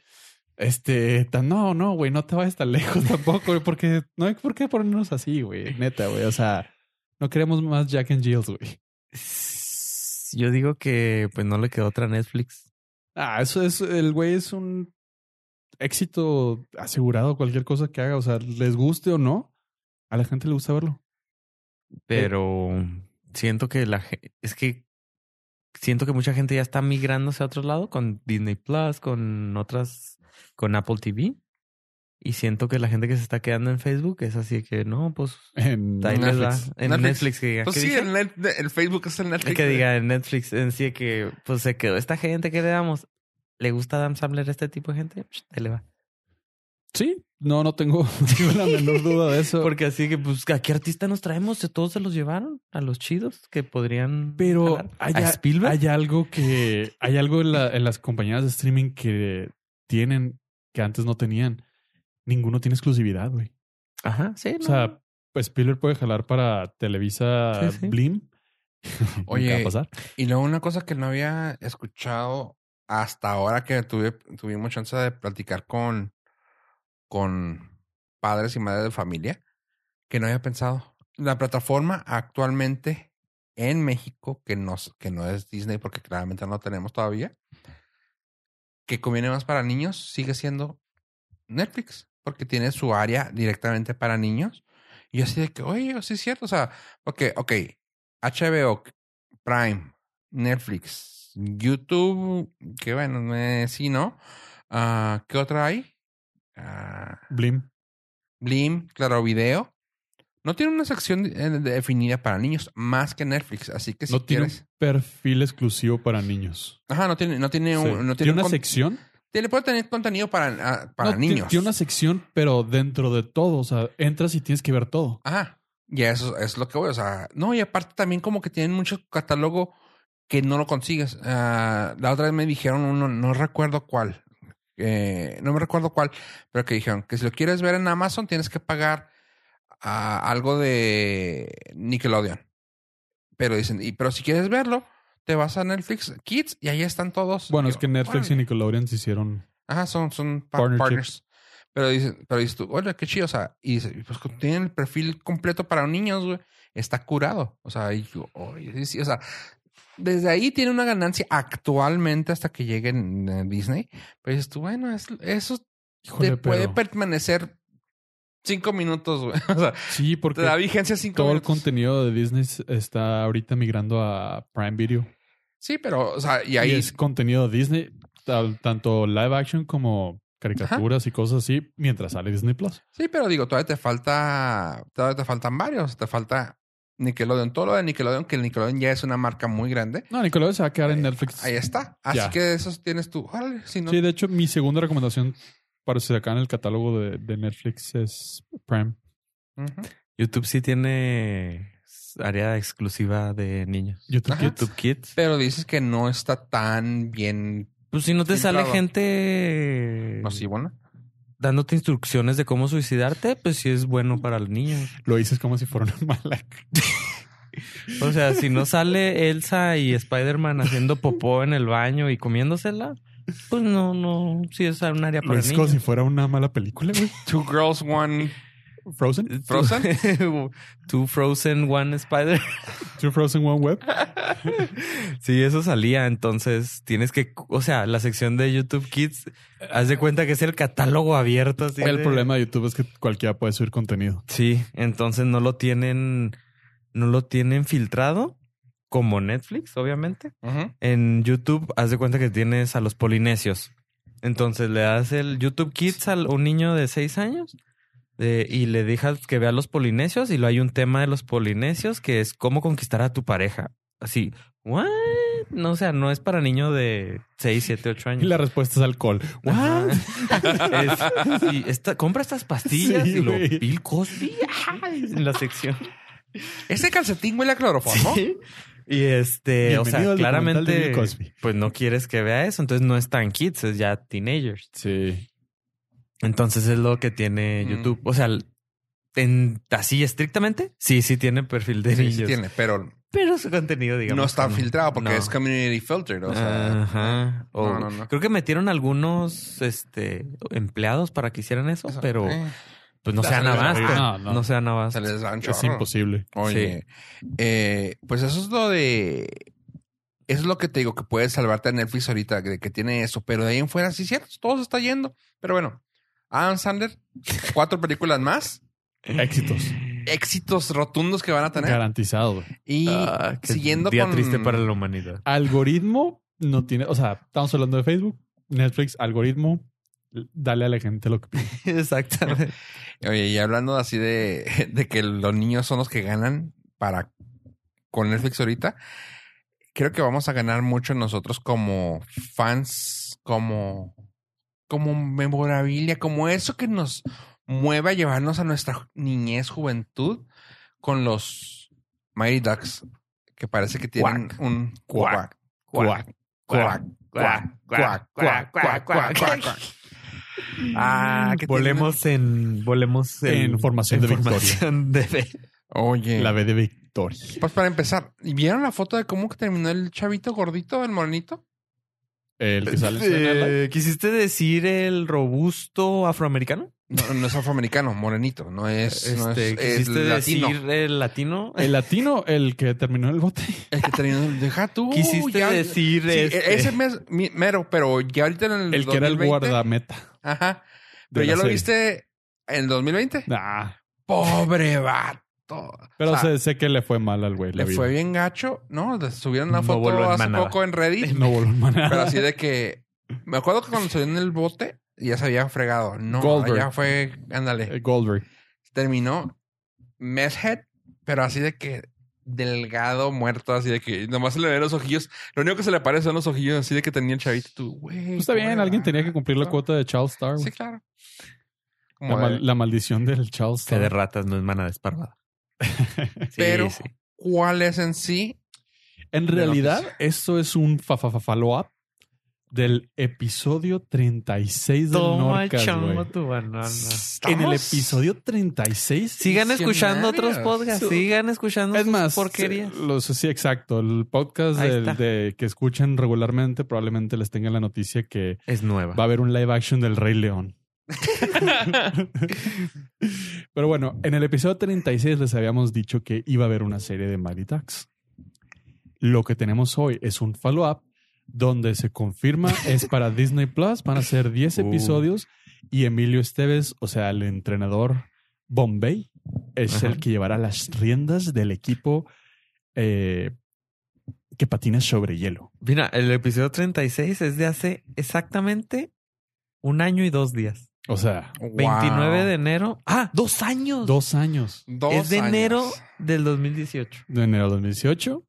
B: este, tan- no, no, güey, no te vayas tan lejos <laughs> tampoco, güey, porque no hay por qué ponernos así, güey, neta, güey. O sea, no queremos más Jack and Jills, güey.
C: s- Yo digo que pues no le quedó otra a Netflix.
B: Ah, eso es, el güey es un éxito asegurado, cualquier cosa que haga, o sea, les guste o no, a la gente le gusta verlo.
C: Pero siento que la ge- es que siento que mucha gente ya está migrándose a otro lado con Disney Plus, con otras, con Apple TV. Y siento que la gente que se está quedando en Facebook es así que no, pues
B: En-
C: ahí les va.
A: Netflix.
C: En
A: Netflix.
C: Netflix, que diga.
A: Pues
C: ¿qué
A: sí,
C: dije?
A: el, net- el Facebook es el Netflix.
C: que diga en Netflix en sí que pues se quedó esta gente que le damos. ¿Le gusta Adam Sandler a este tipo de gente? Psh, Ahí le va.
B: Sí, no, no tengo, <laughs> no tengo la menor duda de eso.
C: Porque así que, pues, ¿a qué artista nos traemos? ¿Se- Todos se los llevaron a los chidos que podrían.
B: Pero
C: jalar?
B: hay,
C: ¿A Spielberg?
B: hay algo que hay algo en, la- en las compañías de streaming que tienen que antes no tenían. Ninguno tiene exclusividad, güey.
C: Ajá, sí.
B: O
C: no.
B: sea, pues Spielberg puede jalar para Televisa
C: Sí, sí.
B: Blim. <laughs> Nunca
A: Oye,
B: va a pasar.
A: Y luego una cosa que no había escuchado hasta ahora que tuve, tuvimos chance de platicar con, con padres y madres de familia, que no había pensado. La plataforma actualmente en México, que no, es- que no es Disney porque claramente no tenemos todavía, que conviene más para niños, sigue siendo Netflix, porque tiene su área directamente para niños. Y yo así de que, oye, sí es cierto, o sea, porque, ok, HBO, Prime, Netflix, YouTube, que bueno, eh, sí, ¿no? Ah, ¿Qué otra hay? Ah,
B: Blim.
A: Blim, Claro Video. No tiene una sección eh, definida para niños más que Netflix, así que si
B: no tiene
A: quieres...
B: un perfil exclusivo para niños.
A: Ajá, no tiene, no tiene,
B: Sí.
A: un- no tiene,
B: tiene
A: un
B: una
A: con-
B: sección.
A: tiene- puede tener contenido para, ah, para
B: No, ti-
A: niños.
B: Tiene una sección, pero dentro de todo. O sea, entras y tienes que ver todo.
A: Ajá. Y eso es lo que voy. O sea, no, y aparte también como que tienen mucho catálogo que no lo consigues. Ah, la otra vez me dijeron uno, no recuerdo cuál. eh, no me recuerdo cuál, pero que dijeron que si lo quieres ver en Amazon tienes que pagar ah, algo de Nickelodeon. Pero dicen, y pero si quieres verlo, te vas a Netflix Kids y ahí están todos. Y
B: Bueno, es
A: yo,
B: que Netflix y
A: "Órale".
B: Nickelodeon se hicieron.
A: Ajá, son, son pa-
B: Partnership.
A: partners. Pero dices, pero dices tú, oye, qué chido. O sea, y dices, pues como tienen el perfil completo para niños, güey. Está curado. O sea, y yo, oye, sí, sí, o sea, desde ahí tiene una ganancia actualmente hasta que lleguen eh, Disney. Pero dices tú, bueno, es- eso
B: Híjole,
A: te puede
B: pero-
A: permanecer cinco minutos, güey. <laughs> O sea,
B: Sí, porque
A: te da vigencia cinco
B: todo el
A: minutos.
B: contenido de Disney está ahorita migrando a Prime Video.
A: Sí, pero, o sea, y
B: Y
A: ahí
B: es contenido de Disney, tal- tanto live action como caricaturas y cosas así, mientras sale Disney Plus.
A: Sí, pero digo, todavía te falta, todavía te faltan varios, te falta Nickelodeon, todo lo de Nickelodeon, que el Nickelodeon ya es una marca muy grande.
B: No, Nickelodeon se va a quedar en Netflix.
A: Eh, Ahí está. Así
B: Ya.
A: que esos tienes tú. Órale, si no.
B: Sí, de hecho, mi segunda recomendación para si acá en el catálogo de, de Netflix es Prime.
A: Ujú.
C: YouTube sí tiene área exclusiva de niños.
B: YouTube
A: Ajá.
B: Kids.
C: YouTube Kids.
A: Pero dices que no está tan bien
C: Pues si no te sale
A: Filtrado.
C: gente
A: nocivo, ¿no?
C: dándote instrucciones de cómo suicidarte, pues sí es bueno para el niño.
B: Lo dices como si fuera una <laughs> mala.
C: O sea, si no sale Elsa y Spider-Man haciendo popó en el baño y comiéndosela, pues no, no, sí es un área
B: Lo
C: para
B: dices como
C: niños. <laughs>
B: si fuera una mala película,
A: <laughs>
B: güey.
A: Two girls, one.
B: Frozen.
C: <laughs> Frozen. Two Frozen, One Spider.
B: Two Frozen One Web.
C: Sí, eso salía. Entonces tienes que, o sea, la sección de YouTube Kids, haz de cuenta que es el catálogo abierto. Así
B: El
C: de-
B: problema de YouTube es que cualquiera puede subir contenido.
C: Sí, entonces no lo tienen, no lo tienen filtrado como Netflix, obviamente.
A: Ujú.
C: En YouTube, haz de cuenta que tienes a los polinesios. Entonces le das el YouTube Kids a un niño de seis años eh, y le dejas que vea a los polinesios y luego hay un tema de los polinesios que es cómo conquistar a tu pareja. Así, ¿what? No, o sea, no es para niño de seis, siete, ocho años.
B: Y la respuesta es alcohol.
C: Ajá.
B: <laughs> What?
C: <laughs> Es- sí, esta- compra estas pastillas
B: Sí,
C: y lo
B: güey.
C: Bill Cosby ajá, en
B: <laughs>
C: la sección.
A: Ese calcetín huele a cloroformo.
C: Sí. Y este, o
B: Bienvenido
C: sea,
B: al documental de
C: claramente,
B: Bill Cosby.
C: pues no quieres que vea eso. Entonces no es tan kids, es ya teenagers.
B: Sí.
C: Entonces es lo que tiene
A: Mm.
C: YouTube. O sea, en así estrictamente, sí, sí tiene perfil de
A: Sí,
C: niños.
A: sí tiene, pero
C: Pero su contenido, digamos.
A: no está
C: que
A: filtrado porque
C: no. Ah,
A: es community filtered. O sea,
C: Ajá. O-
A: No, no, no.
C: Creo que metieron algunos este, empleados para que hicieran eso,
A: eso,
C: pero
A: eh,
C: pues no
A: Ya
C: sean
A: se les
C: abasto.
B: va. No, no.
C: No sean
A: se
C: abasto.
A: les da un
B: Es
A: chorro.
B: imposible.
A: Oye, eh, pues eso es lo de. Eso es lo que te digo que puede salvarte a Netflix ahorita, de que tiene eso. Pero de ahí en fuera, sí, cierto, todo se está yendo. Pero bueno, Adam Sandler, cuatro películas más,
B: Éxitos.
A: éxitos rotundos que van a tener.
B: Garantizado. güey.
A: Y
C: Ah, qué
A: siguiendo
C: día
A: con.
C: triste para
A: <laughs>
C: la humanidad.
B: Algoritmo no tiene. O sea, estamos hablando de Facebook, Netflix, algoritmo. Dale a la gente lo que pide.
C: <laughs> Exactamente.
A: Oye, y hablando así de, de que los niños son los que ganan para con Netflix ahorita, creo que vamos a ganar mucho nosotros como fans como, como memorabilia, como eso que nos mueve a llevarnos a nuestra niñez, juventud, con los Mighty Ducks, que parece que tienen
C: Cuac.
A: un
C: Cuac.
A: cuac, cuac, cuac, cuac, cuac, cuac, cuac, cuac, cuac. Ah, que tienen-
C: volemos en. Volemos en.
B: En formación de victoria.
C: formación de ve-
A: Oye.
B: La B de Victoria.
A: Pues para empezar, ¿vieron la foto de cómo que terminó el chavito gordito, el morenito?
B: El que sale en Saturday Night
C: Eh, ¿Quisiste decir el robusto afroamericano?
A: No, no es afroamericano, morenito, no es, no es,
C: Este,
A: es
C: ¿Quisiste
A: latino.
C: decir el latino?
B: Live. El latino, el que terminó en
A: <laughs>
B: el bote.
A: El que terminó, deja tú.
C: ¿Quisiste
A: ya-
C: decir
A: Sí, e-,
C: este?
A: Ese mes, mi- mero, pero ya ahorita en el
B: El que era el
A: 2020,
B: guardameta.
A: Ajá.
B: de
A: Pero
B: la
A: ya lo
B: serie.
A: viste en el 2020.
B: Nah.
A: Pobre vato.
B: Pero
A: O sea,
B: sé, sé que le fue mal al güey. la
A: le
B: vida.
A: fue bien gacho, ¿no? Le Subieron una
C: No
A: foto
C: voló en
A: hace
C: manada.
A: poco en
B: <laughs>
A: Reddit,
B: No voló en manada.
A: pero así de que me acuerdo que cuando salió en el bote ya se había fregado. No,
B: Goldberg.
A: ya fue, ándale.
B: <laughs> Eh, Goldberg.
A: Terminó Meshead, pero así de que delgado, muerto, así de que nomás se le ven los ojillos. Lo único que se le parece son los ojillos, así de que tenía el chavito. Tú, güey.
B: Pues está
A: pobre
B: bien, alguien tenía que cumplir la
A: vato.
B: cuota de Charles Star. güey.
A: Ah. Sí, claro.
B: la,
A: Como de-
B: mal- la maldición del Charles
C: Fe de
B: Star.
C: ratas no es
A: <laughs>
C: mana desparvada. Sí,
A: Pero-
C: sí.
A: ¿Cuál es en sí?
B: En
A: de
B: realidad,
A: noticia.
B: eso es un fa fa fa- follow-up del episodio 36 del
C: Toma,
B: Norcas,
C: chamo,
B: güey.
C: tu banana.
B: Ah, En el
A: Estamos-
B: episodio 36.
C: Sigan escuchando otros
A: Diccionarios.
C: podcasts. Sigan escuchando
B: Es
C: sus
B: más, eh,
C: porquerías.
B: los- sí, exacto. El podcast
C: Ahí
B: del-
C: está.
B: de, que escuchan regularmente probablemente les tenga la noticia que
C: Es nueva.
B: va a haber un live action del Rey
C: <laughs>
B: León. Pero bueno, en el episodio 36 les habíamos dicho que iba a haber una serie de Mighty Ducks. Lo que tenemos hoy es un follow-up donde se
C: <laughs>
B: confirma es para Disney Plus. Van a ser 10
C: Uh.
B: episodios y Emilio Esteves, o sea, el entrenador Bombay, es
C: Ajá.
B: el que llevará las riendas del equipo eh, que patina sobre hielo.
C: Mira, el episodio 36 es de hace exactamente un año y dos días.
B: O sea,
A: Wow.
C: 29 de enero. ¡Ah! ¡Dos años!
B: dos años
A: Dos
C: es de
A: años.
C: enero del 2018.
B: de enero de 2018.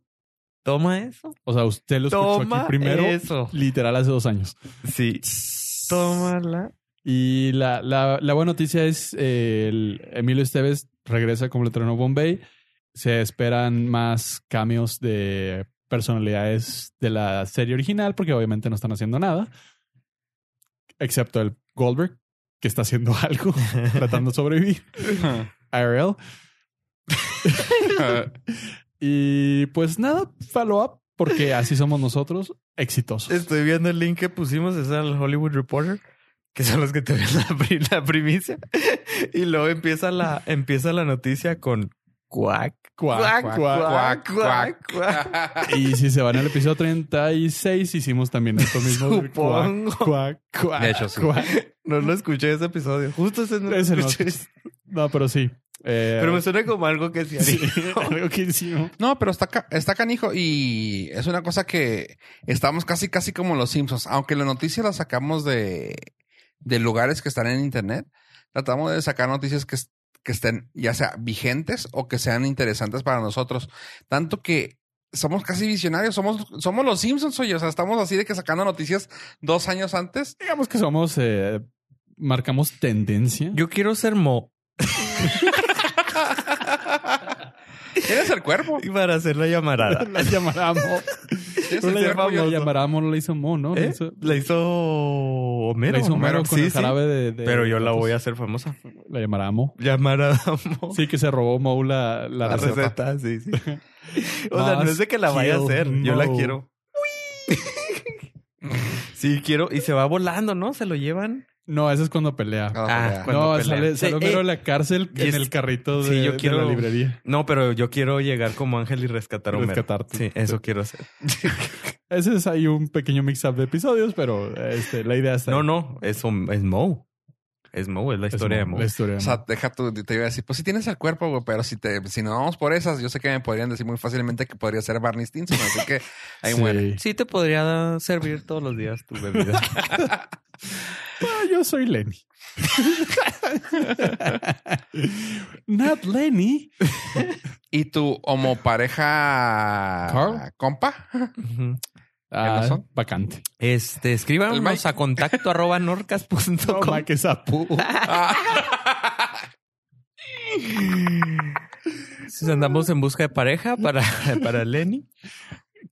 C: Toma eso.
B: O sea, usted lo escuchó
C: Toma
B: aquí primero,
C: eso.
B: literal hace dos años.
C: Sí.
A: <laughs>
C: Tómala.
B: Y la, la- la buena noticia es eh, el Emilio Esteves regresa como el entrenador Bombay. Se esperan más cambios de personalidades de la serie original porque obviamente no están haciendo nada. Excepto el Goldberg, que está haciendo <laughs> algo, tratando de sobrevivir. IRL. Y pues nada, follow up porque así somos nosotros, exitosos.
C: Estoy viendo el link que pusimos, es al Hollywood Reporter, que son los que te ven la, pri- la primicia. <laughs> Y luego empieza la, empieza la noticia con cuac,
B: Cuac,
A: cuac, cuac,
C: cuac.
B: Y si se van al episodio 36, hicimos también esto mismo. del
C: Supongo.
B: cuac, cuac, cuac,
A: De hecho, sí.
B: cuac.
C: No lo escuché ese episodio. Justo ese no lo
B: Ese no.
C: escuché.
B: No, pero sí. Eh,
C: Pero me suena como algo que se
B: sí,
C: haría.
B: <laughs> algo que hicimos.
A: No, pero está, ca- está canijo y es una cosa que estamos casi, casi como los Simpsons. Aunque la noticia la sacamos de, de lugares que están en internet, tratamos de sacar noticias que, es- que estén ya sea vigentes o que sean interesantes para nosotros. Tanto que somos casi visionarios, somos, somos los Simpsons, oye. O sea, estamos así de que sacando noticias dos años antes.
B: Digamos que somos, eh, marcamos tendencia.
C: <laughs> Yo quiero ser Mo.
A: Tienes el cuerpo.
C: Y para hacer la
B: <laughs>
C: llamarada. ¿Eh?
B: la
C: <laughs>
B: llamaramos. <laughs>
A: Tienes
B: No
A: el
B: la
A: cuerpo, yo-
B: llamamos, la llamaramos, no la hizo Mo, ¿no? La
C: ¿Eh?
B: hizo-
C: La hizo Homero.
B: la hizo Homero con
C: Sí,
B: el
C: sí.
B: jarabe de, de-
C: Pero yo la voy a hacer famosa.
B: La llamará Mo.
C: Llamarada <laughs> Mo.
B: Sí, que se robó Mo la, la,
C: La
B: receta.
C: receta, sí, <laughs> sí. O sea, no
B: Must
C: es de que la vaya a
B: kill
C: hacer. Yo la
B: Mo.
C: quiero. <laughs> Sí, quiero. Y se va volando, ¿no? Se lo llevan.
B: No, eso es cuando pelea.
A: Ah,
C: Ah,
A: ya.
C: cuando
B: no,
C: pelea.
B: sale, sale
C: Sí,
B: Homero
C: eh,
B: de la cárcel
C: y
B: en
C: es-
B: el carrito de,
C: sí, yo
B: de
C: quiero-
B: la librería.
C: No, pero yo quiero llegar como ángel y rescatar a Homero.
B: Rescatarte.
C: Sí, eso quiero hacer.
B: Ese es ahí un pequeño mix-up de episodios, pero este, la idea está.
C: No,
B: ahí.
C: no, es, Hom- es Mo. Es Mo, es la
B: Es Mo,
C: historia de Mo.
B: La historia de
A: O
B: Mo.
A: sea, deja tú, te iba a decir, pues si tienes el cuerpo, güey, pero si te, si no vamos por esas, yo sé que me podrían decir muy fácilmente que podría ser Barney Stinson, así que ahí
B: Sí.
A: muere.
C: Sí te podría servir todos los días tu bebida.
B: Ah, yo soy Lenny. <laughs> Not Lenny.
A: ¿Y tu homopareja
B: Carl?
A: compa?
C: <laughs> Ujú.
B: Ah,
A: Amazon?
B: vacante.
C: Este,
A: El
C: escríbanos
A: Mike.
C: a <laughs> contacto arroba norcas.com.
B: No, ma, que sapu.
C: Si andamos en busca de pareja para, para Lenny.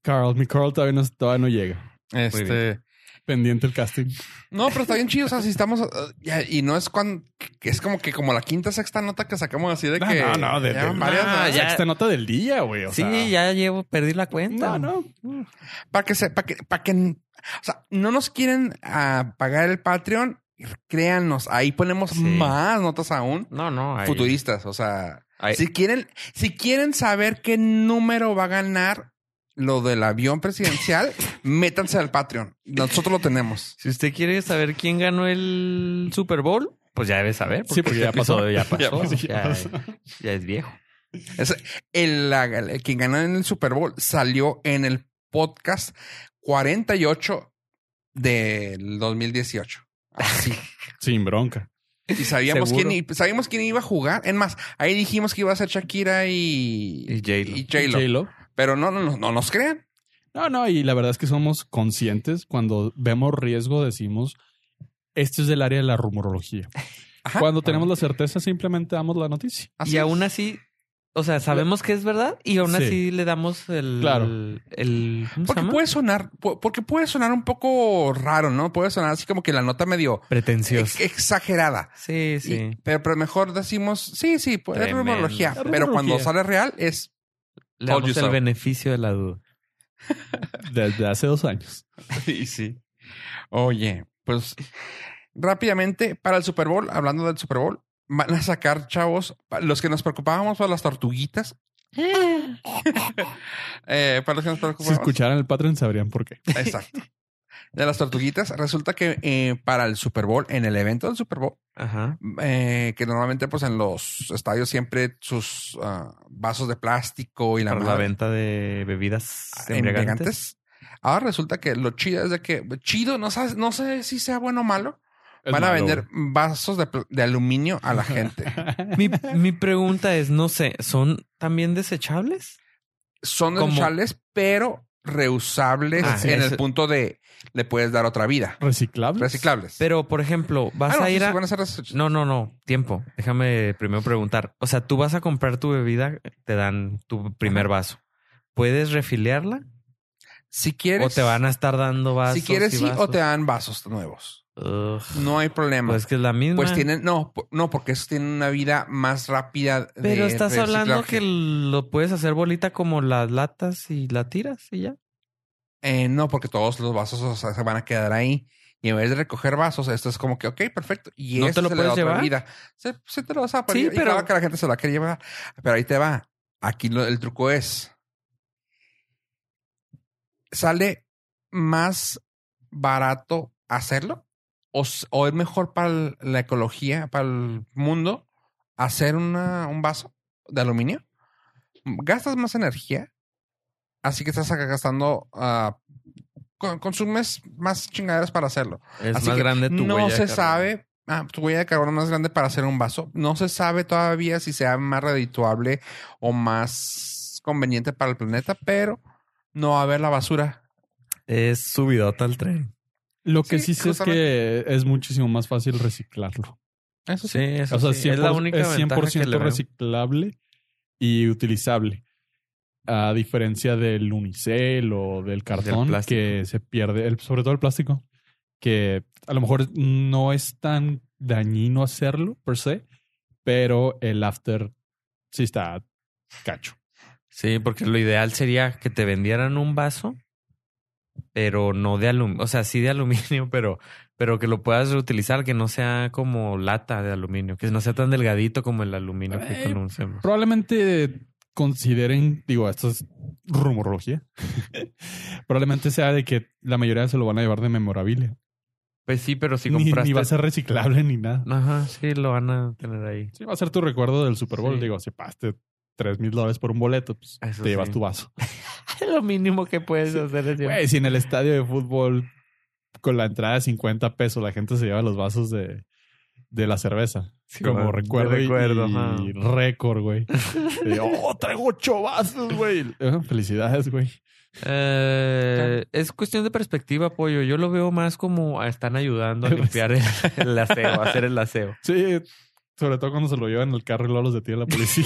B: Carl, mi Carl todavía no, todavía no llega.
A: este.
B: Pendiente el casting.
A: No, pero está bien chido. O sea, si estamos. uh, ya, y no es cuando. Es como que como la quinta, sexta nota que sacamos así de
B: No,
A: que.
B: no, no, de-
A: ya
B: de-
A: varias,
C: Ah,
A: ¿no?
C: ya.
B: Sexta nota del día, güey. o
C: Sí,
B: sea.
C: ya llevo, perdí la cuenta.
B: No, no.
A: Para que se. Para que, para que. O sea, no nos quieren ah, pagar el Patreon. Créanos, ahí ponemos
C: Sí.
A: más notas aún.
C: No, no. ahí-
A: Futuristas. O sea,
C: ahí-
A: si quieren, si quieren saber qué número va a ganar lo del avión presidencial,
C: <laughs>
A: métanse al Patreon. Nosotros lo tenemos.
C: Si usted quiere saber quién ganó el Super Bowl, pues ya debe saber.
B: Sí, porque ya
C: este
B: pasó.
C: episodio
B: Ya
C: <laughs> Ya pasó.
B: pasó, ya
C: ya,
B: pasó.
C: ya es viejo.
A: Es el, la- el- quien ganó en el Super Bowl salió en el podcast 48 del 2018. Así.
B: Sin bronca.
A: Y sabíamos
C: <laughs> Seguro.
A: quién, i- sabíamos quién iba a jugar. Es más, ahí dijimos que iba a ser Shakira y,
C: Y J-Lo.
A: y J-Lo.
B: J-Lo.
A: Pero no, no, no, no nos crean.
B: No, no, y la verdad es que somos conscientes. Cuando vemos riesgo, decimos, este es del área de la rumorología.
A: Ajá.
B: Cuando tenemos la certeza, simplemente damos la noticia.
A: Así
C: y
A: es.
C: aún así, o sea, sabemos que es verdad y aún
B: Sí.
C: así le damos el.
B: Claro.
C: El, ¿Cómo se
A: Porque
C: llama?
A: puede sonar, pu- porque puede sonar un poco raro, ¿no? Puede sonar así como que la nota medio
C: Pretencioso.
A: ex- exagerada.
C: Sí, sí.
A: Y- pero, pero mejor decimos, sí, sí, pues, es
C: Tremendo.
A: rumorología.
B: Es
A: Pero cuando
B: rumorología.
A: sale real
C: <laughs>
A: es
C: le
A: Told
C: damos
A: you
C: el
A: so.
C: beneficio de la duda.
B: Desde hace dos años.
A: Sí, sí. Oye, pues rápidamente para el Super Bowl, hablando del Super Bowl, van a sacar chavos, pa- los que nos preocupábamos por las
C: <laughs>
A: tortuguitas. Eh, para los que nos
B: Si
A: preocupábamos.
B: escucharan el Patreon, sabrían por qué.
A: Exacto. De las tortuguitas, resulta que eh, para el Super Bowl, en el evento del Super Bowl,
C: Ajá.
A: eh, que normalmente pues en los estadios siempre sus ah, vasos de plástico y la
C: Para la
A: madre-
C: venta de bebidas embriagantes.
A: embriagantes. Ahora resulta que lo chido es de que chido, no sabes, no sé si sea bueno o malo.
B: Es
A: van a
B: malo,
A: vender vasos de, pl- de aluminio
C: <laughs>
A: a la gente.
B: güey.
C: Mi, mi pregunta es, no sé, ¿son también desechables?
A: Son
C: Como-
A: desechables, pero reusables
C: Ah, sí,
A: en el
C: eso-
A: punto de le puedes dar otra vida.
B: <laughs> Reciclables.
A: Reciclables.
C: Pero, por ejemplo, vas
A: Ah, no,
C: a
A: sí,
C: ir
A: sí,
C: a...
A: van a ser desech-
C: No, no, no. Tiempo. Déjame primero preguntar. O sea, tú vas a comprar tu bebida, te dan tu primer vaso. ¿Puedes refiliarla?
A: Si quieres,
C: ¿O te van a estar dando vasos?
A: si quieres
C: y
A: sí, o
C: vasos?
A: te dan vasos nuevos.
C: Ugh.
A: No hay problema.
C: Pues que es la misma.
A: Pues tienen, no, po- no, porque esos tienen una vida más rápida. de
C: Pero estás hablando
A: reciclaje.
C: que lo puedes hacer bolita como las latas y la tiras y ya.
A: Eh, no, porque todos los vasos o sea, se van a quedar ahí. Y en vez de recoger vasos, esto es como que, ok, perfecto. Y
C: ¿No
A: esto
C: te lo
A: se le da
C: puedes
A: otra
C: llevar?
A: vida. Se, se te lo vas a poner.
C: Sí, pero-
A: que la gente se la quiere llevar. Pero ahí te va. Aquí lo- el truco es. ¿Sale más barato hacerlo? ¿O, s- o es mejor para el- la ecología, para el mundo, hacer una- un vaso de aluminio? Gastas más energía. Así que estás acá gastando. ah, con- consumes más chingaderas para hacerlo.
C: Es
A: Así
C: más
A: que
C: grande tu
A: no
C: huella de
A: se
C: carbono.
A: sabe. Ah, tu huella de carbono más grande para hacer un vaso. No se sabe todavía si sea más redituable o más conveniente para el planeta, pero no va a haber la <laughs> basura.
C: Es subidota al tren.
B: Lo que sí,
A: Sí,
B: sé es que es muchísimo más fácil reciclarlo.
A: Eso
C: Sí, eso
B: O sea,
C: sí.
B: 100%,
C: es la única
B: es 100%
C: ventaja que le veo.
B: reciclable y utilizable. A diferencia del unicel o del cartón
C: plástico.
B: que se pierde, el- sobre todo el plástico, que a lo mejor no es tan dañino hacerlo per se, pero el after sí está cacho.
C: Sí, porque lo ideal sería que te vendieran un vaso, pero no de aluminio, o sea, sí de <laughs> aluminio, pero, pero que lo puedas reutilizar, que no sea como lata de aluminio, que no sea tan delgadito como el aluminio que
B: Eh,
C: conocemos.
B: Probablemente consideren, digo, esto es rumorología, <laughs> probablemente sea de que la mayoría se lo van a llevar de memorabilia.
C: Pues sí, pero si
B: Ni- ni,
C: compraste.
B: va a ser reciclable ni nada.
C: Ajá, sí, lo van a
B: <laughs>
C: tener ahí.
B: Sí, va a ser tu recuerdo del Super Bowl.
C: Sí.
B: Digo, si pagaste 3 mil dólares por un boleto, pues
C: Eso
B: te llevas
C: sí.
B: tu vaso.
C: Lo mínimo que puedes hacer es
B: Güey, si en el estadio de fútbol con la entrada de 50 pesos la gente se lleva los vasos de, de la cerveza.
C: Sí,
B: como
C: bueno, de
B: recuerdo, y-
C: recuerdo, ajá.
B: y, récord, güey. <laughs> De, oh, traigo ocho vasos, güey. Eh, Felicidades, güey.
C: Eh, es cuestión de perspectiva, pollo. Yo lo veo más como a-
B: <laughs>
C: están ayudando a limpiar el, el aseo, a hacer el aseo.
B: Sí, sobre todo cuando se lo llevan en el carro y luego los detiene la <laughs> policía.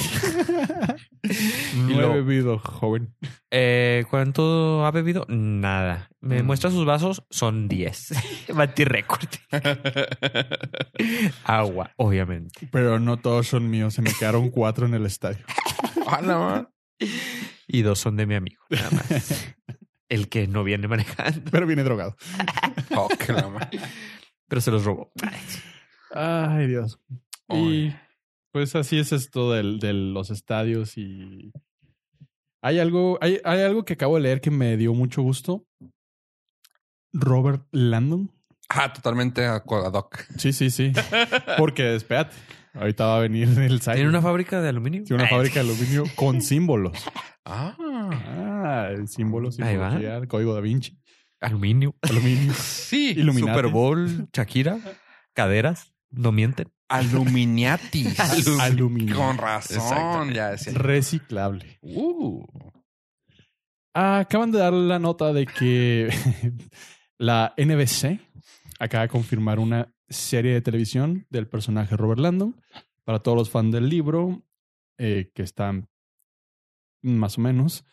C: Y
B: no he
C: lo-
B: bebido, joven.
C: Eh, ¿Cuánto ha bebido? Nada. Me
B: Mm.
C: muestra sus vasos, son 10. <laughs> Batí
B: <laughs>
C: récord. Agua, obviamente.
B: Pero no todos son míos. Se me quedaron cuatro en el estadio. <laughs>
A: Hola, man.
C: Y dos son de mi amigo, nada
B: <laughs>
C: más. El que no viene manejando,
B: Pero viene drogado.
A: Oh, que la ma-
C: pero se los robó.
B: Ay, Dios. Y
A: Uy.
B: pues así es esto del- de los estadios y... Hay algo, hay, hay algo que acabo de leer que me dio mucho gusto. Robert Landon.
A: Ah, totalmente acu- ad hoc.
B: Sí, sí, <laughs> sí. Porque, espérate, ahorita va a venir el site.
C: ¿Tiene una fábrica de aluminio?
B: Tiene una fábrica de aluminio con símbolos.
A: Ah,
B: Ah, el símbolo,
C: Ahí va.
B: simbología, el código da Vinci.
C: <laughs> Aluminio.
B: Aluminio.
A: sí.
B: Illuminati.
C: Super Bowl, Shakira, caderas, no mienten.
A: <laughs> Aluminiatis.
C: Alu-
B: Aluminio.
A: Con razón.
C: Exactamente.
A: Ya decía.
B: Reciclable.
A: Uh.
B: Acaban de dar la nota de que <laughs> la NBC acaba de confirmar una serie de televisión del personaje Robert Landon para todos los fans del libro eh, que están más o menos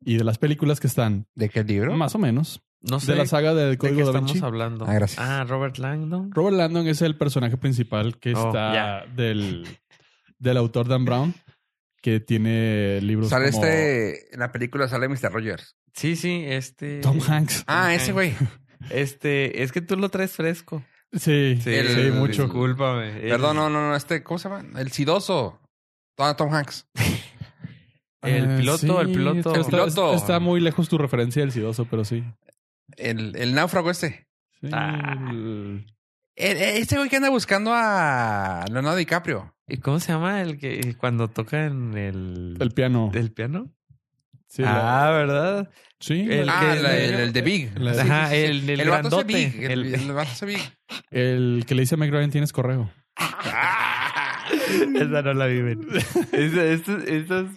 B: y de las películas que están
A: ¿De qué libro?
B: más o menos
C: No sé
B: de la saga del
C: de qué
B: Código da
C: estamos
B: Vinci.
C: hablando.
A: Ah, gracias.
C: Ah, Robert Langdon.
B: Robert Landon es el personaje principal que
C: Oh,
B: está
C: ya.
B: del, del autor Dan Brown, que tiene libros
A: Sale
B: como
A: este. En la película sale Mr. Rogers.
C: Sí, sí, este.
B: Tom Hanks.
A: Ah,
C: Tom
A: ese
C: Hanks.
A: güey.
C: Este, es que tú lo traes fresco.
B: Sí, sí,
A: el-
B: mucho.
C: Discúlpame. El-
A: Perdón, no, no, no. Este, ¿cómo se llama? El Sidoso. Ah, Tom Hanks.
C: El
B: Eh,
C: piloto, el piloto.
B: Está,
A: Piloto.
B: está muy lejos tu referencia del sidoso, pero sí.
A: El, el náufrago este.
B: Sí,
C: Ah.
B: el-
A: El- este güey que anda buscando a Leonardo DiCaprio.
C: ¿Y cómo se llama el que cuando tocan el.
B: el piano.
C: el piano?
B: sí, la-
C: ah, <laughs> ¿verdad?
B: sí,
C: el-
B: la-
A: ah,
C: que-
A: la- el, el de Big.
B: La-
A: Sí,
C: Ajá,
A: sí, sí.
C: el, el,
A: El vato ese
C: grandote.
A: Big. El,
C: El,
A: el vato ese Big. <laughs>
B: el que le dice a Meg Ryan, tienes correo.
A: Ah.
C: Esa no la viven. Esa, esta- esta es-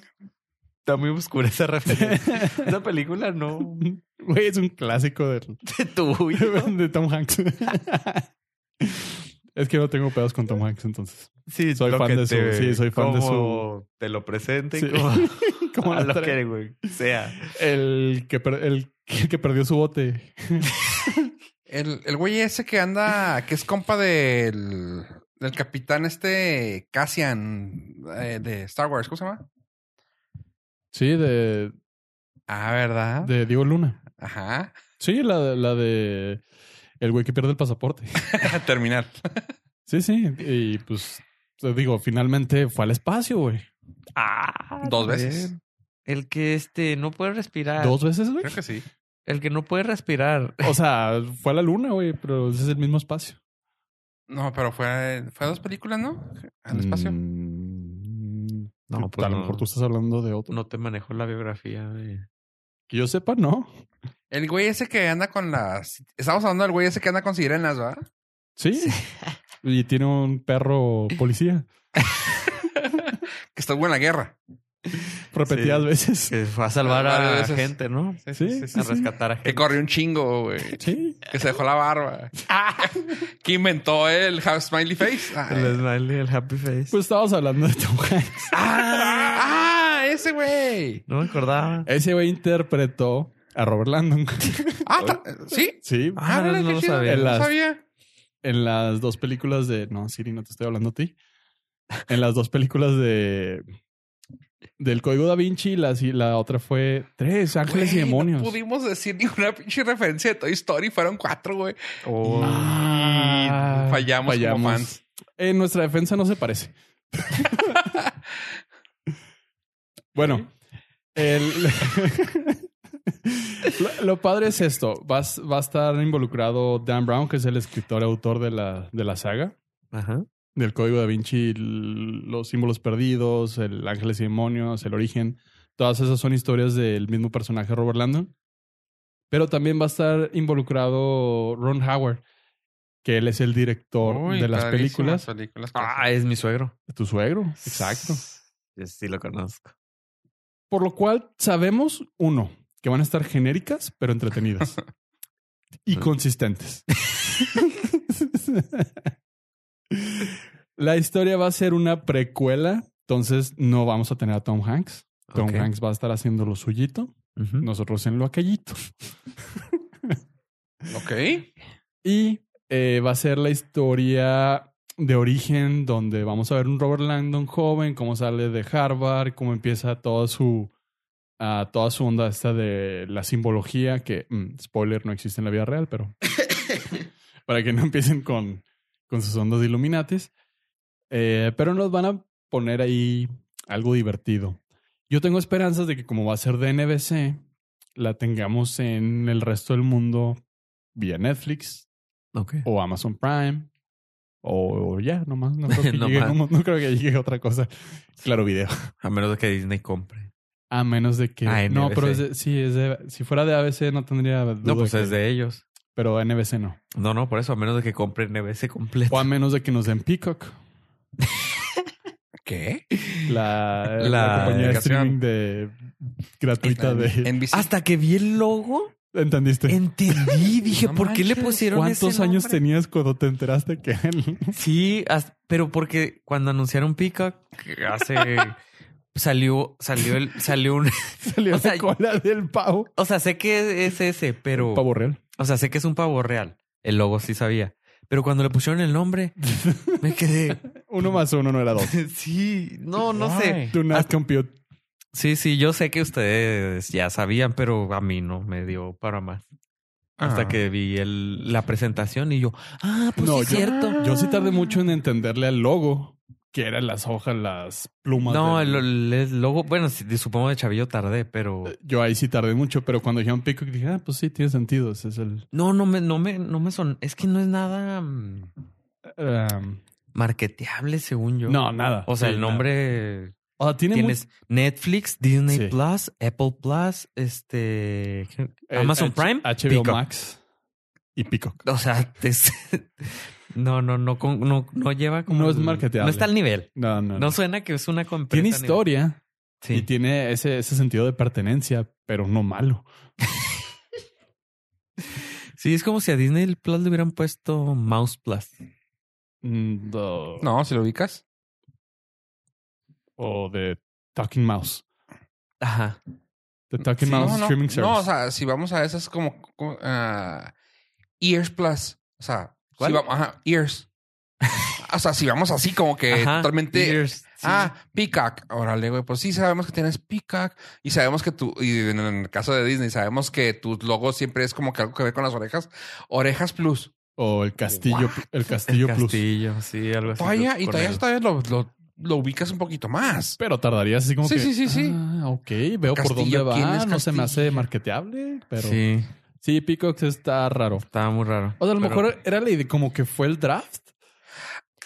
C: Está muy oscura esa <laughs> referencia. Esa película no. <laughs>
B: Güey, es un clásico del-
C: Tuyo.
B: <laughs> de Tom Hanks. es que no tengo pedos con Tom Hanks, entonces.
C: Sí,
B: Soy
C: lo
B: fan
C: que
B: de su-
C: te-
B: sí, soy fan de su-
C: como Te lo presenten
B: Sí.
C: <laughs> como,
B: Como
C: a
B: la
C: lo
B: otra-
C: que güey, sea.
B: El que, per- el, el que perdió su bote.
A: El, el güey ese que anda, que es compa del, del capitán este Cassian eh, de Star Wars, ¿cómo se llama?
B: Sí, de,
A: Ah, ¿verdad?
B: de Diego Luna.
A: <laughs> Ajá.
B: Sí, la, de- la de el güey que pierde el pasaporte.
A: Terminar.
B: Sí, sí. Y pues, te digo, finalmente fue al espacio, güey.
C: Ah,
A: Dos veces.
C: bien. El que este no puede respirar.
B: Dos veces, güey.
A: Creo que sí.
C: El que no puede respirar.
B: O sea, fue a la luna, güey, pero ese es el mismo espacio.
A: No, pero fue, fue a dos películas, ¿no? Al espacio.
B: Mm,
C: No,
B: que
C: pues
B: a lo
C: no.
B: mejor tú estás hablando de otro.
C: No te manejó la biografía. de-
B: Que yo sepa, no.
A: El güey ese que anda con las. Estamos hablando del güey ese que anda con sirenas, ¿verdad?
B: Sí. <laughs> Y tiene un perro policía.
A: Que estuvo en la guerra.
B: Repetidas
C: Sí.
B: veces.
C: Que fue a salvar
A: Ah,
C: a
A: veces.
C: gente, ¿no?
B: sí, sí,
C: A
B: sí.
C: rescatar a
A: Que
C: gente.
A: corrió un chingo, güey.
B: Sí.
A: Que se dejó la
B: <laughs>
A: barba. que inventó el half smiley
B: <laughs>
A: face. Ah,
C: El smiley, el happy face.
B: Pues estábamos hablando de <laughs> Tom Hanks.
A: ah, ah, ese güey.
C: no me acordaba.
B: Ese güey interpretó a Robert Landon. <laughs>
A: Ah, ta- sí.
B: Sí,
A: Ah, mira,
C: no,
A: qué
C: no lo
A: chido.
C: sabía.
A: No
B: Las-
A: sabía.
B: en las dos películas de. No, Siri, no te estoy hablando a ti. En las dos películas de. Del Código Da Vinci, la, sí, la otra fue Tres Ángeles y
A: Güey,
B: Demonios.
A: No pudimos decir ninguna pinche referencia de Toy Story. Fueron cuatro, güey.
C: Oh.
B: Ah,
A: Y fallamos, como fans.
B: En nuestra defensa no
A: <laughs>
B: se parece. bueno, el- <laughs> lo, lo padre es esto. Vas- va a estar involucrado Dan Brown, que es el escritor y autor de la, de la saga.
C: Ajá.
B: del código da Vinci, l- los símbolos perdidos, el ángeles y demonios, el origen, todas esas son historias del mismo personaje Robert Landon. Pero también va a estar involucrado Ron Howard, que él es el director
A: Uy,
B: de las
A: padrísimo,
B: películas.
A: películas que
C: Ah, es mi suegro.
B: de tu suegro. Exacto.
C: Yo sí lo conozco.
B: Por lo cual sabemos, uno, que van a estar genéricas, pero entretenidas. y consistentes. <laughs> La historia va a ser una precuela, entonces no vamos a tener a Tom Hanks. Tom
C: Ok.
B: Hanks va a estar haciendo lo suyito,
C: Ujú.
B: nosotros en lo aquellito.
A: hacen. Ok.
B: Y eh, va a ser la historia de origen donde vamos a ver un Robert Langdon joven, cómo sale de Harvard, cómo empieza toda su ah, toda su onda esta de la simbología que mm, spoiler no existe en la vida real, pero para que no empiecen con con sus ondas de Illuminatis. Eh, pero nos van a poner ahí algo divertido. Yo tengo esperanzas de que como va a ser de NBC, la tengamos en el resto del mundo vía Netflix,
C: Ok.
B: o Amazon Prime o, o ya, nomás.
C: <laughs>
B: No creo, que
C: No
B: llegue,
C: más.
B: no- no creo que llegue otra cosa. Claro, video.
C: A menos de que Disney compre.
B: A menos de que.
C: Ah,
B: no,
C: NBC.
B: pero es de- sí, es de- si fuera de ABC no tendría. duda
C: No, pues
B: que-
C: es de ellos.
B: Pero NBC no.
C: No, no, por eso. A menos de que compre NBC completo.
B: O a menos de que nos den Peacock,
A: ¿Qué?
B: la, la
C: La
B: compañía de
A: aplicación.
B: streaming de, gratuita de.
A: NBC.
C: Hasta que vi el logo,
B: ¿Entendiste? <laughs>
C: entendí. Dije,
A: No
C: ¿por qué le
A: manches.
C: pusieron ese
B: ¿Cuántos años
C: nombre?
B: tenías cuando te enteraste que él?
C: Sí, hasta- pero porque cuando anunciaron Peacock hace
B: <laughs>
C: salió salió el salió un
B: salió
C: <laughs> O sea, Oh.
B: la cola del pavo?
C: o sea, sé que es ese, pero
B: Pavo real.
C: o sea, sé que es un pavo real. El logo sí sabía, pero cuando le pusieron
B: <laughs>
C: el nombre me quedé
B: Uno más uno no era dos.
C: sí, no, no sé.
B: Do not
C: Hasta-
B: compute.
C: Sí, sí, yo sé que ustedes ya sabían, pero a mí no me dio para más. Hasta
A: Ah.
C: que vi el, la presentación y yo, ah, pues
B: No,
C: sí es
B: yo-
C: cierto.
B: Yo sí tardé mucho en entenderle al logo, que eran las hojas, las plumas.
C: No,
B: del-
C: el, el logo, bueno, sí, supongo de Chavillo tardé, pero
B: Yo ahí sí tardé mucho, pero cuando dijeron Peacock dije, ah, pues sí, tiene sentido. Ese es el.
C: No, no me, no me, no me son. Es que no es nada mm,
B: um,
C: marketeable, según yo.
B: no, nada.
C: O sea,
B: Sí,
C: el
B: nada.
C: nombre
B: O sea, tiene
C: tienes Netflix, Disney
B: Sí.
C: Plus, Apple Plus, este
B: mu-
C: Amazon
B: eh,
C: Prime,
B: H- HBO
C: Peacock.
B: Max y Peacock.
C: O sea, <laughs> es- no, no, no, con- no, no lleva como.
B: No es
C: el-
B: marketeable.
C: No está al nivel.
B: No, no.
C: No suena que es una empresa
B: tiene
C: a nivel.
B: historia
C: Sí.
B: y tiene ese, ese sentido de pertenencia, pero no malo.
C: Sí, es como si a Disney Plus le hubieran puesto Mouse Plus.
B: Mm, do-
A: No, si lo ubicas.
B: O de Talking Mouse.
C: Ajá.
B: The Talking
A: Sí,
B: Mouse
A: no, no.
B: Streaming Service.
A: No, o sea, si vamos a esas como, como, ah, Ears Plus. O sea,
C: ¿Cuál?
A: si vamos, ajá, Ears. o sea, si vamos así como que
C: Ajá.
A: totalmente.
C: Ears, sí.
A: Ah, Peacock. Órale, güey. Pues sí, sabemos que tienes Peacock. Y sabemos que tú, y en el caso de Disney, sabemos que tu logo siempre es como que algo que ver con las orejas. Orejas Plus.
B: o el Castillo,
A: What?
B: el
C: El
B: Castillo Plus.
C: castillo, sí, algo así.
A: Todavía, y
C: con
A: todavía,
C: el-
A: todavía lo, lo- lo ubicas un poquito más.
B: Pero tardarías así como
A: Sí,
B: que.
A: sí, sí, sí.
B: "Ah, ok, veo por dónde
A: Castillo,
B: va.
A: ¿quién
B: No
A: es
B: se me hace
A: Castillo?
B: marketeable, pero. Sí,
C: Sí,
B: Peacock está raro.
C: estaba muy raro.
B: O sea, a lo
C: Pero-
B: mejor era la idea, como que fue el draft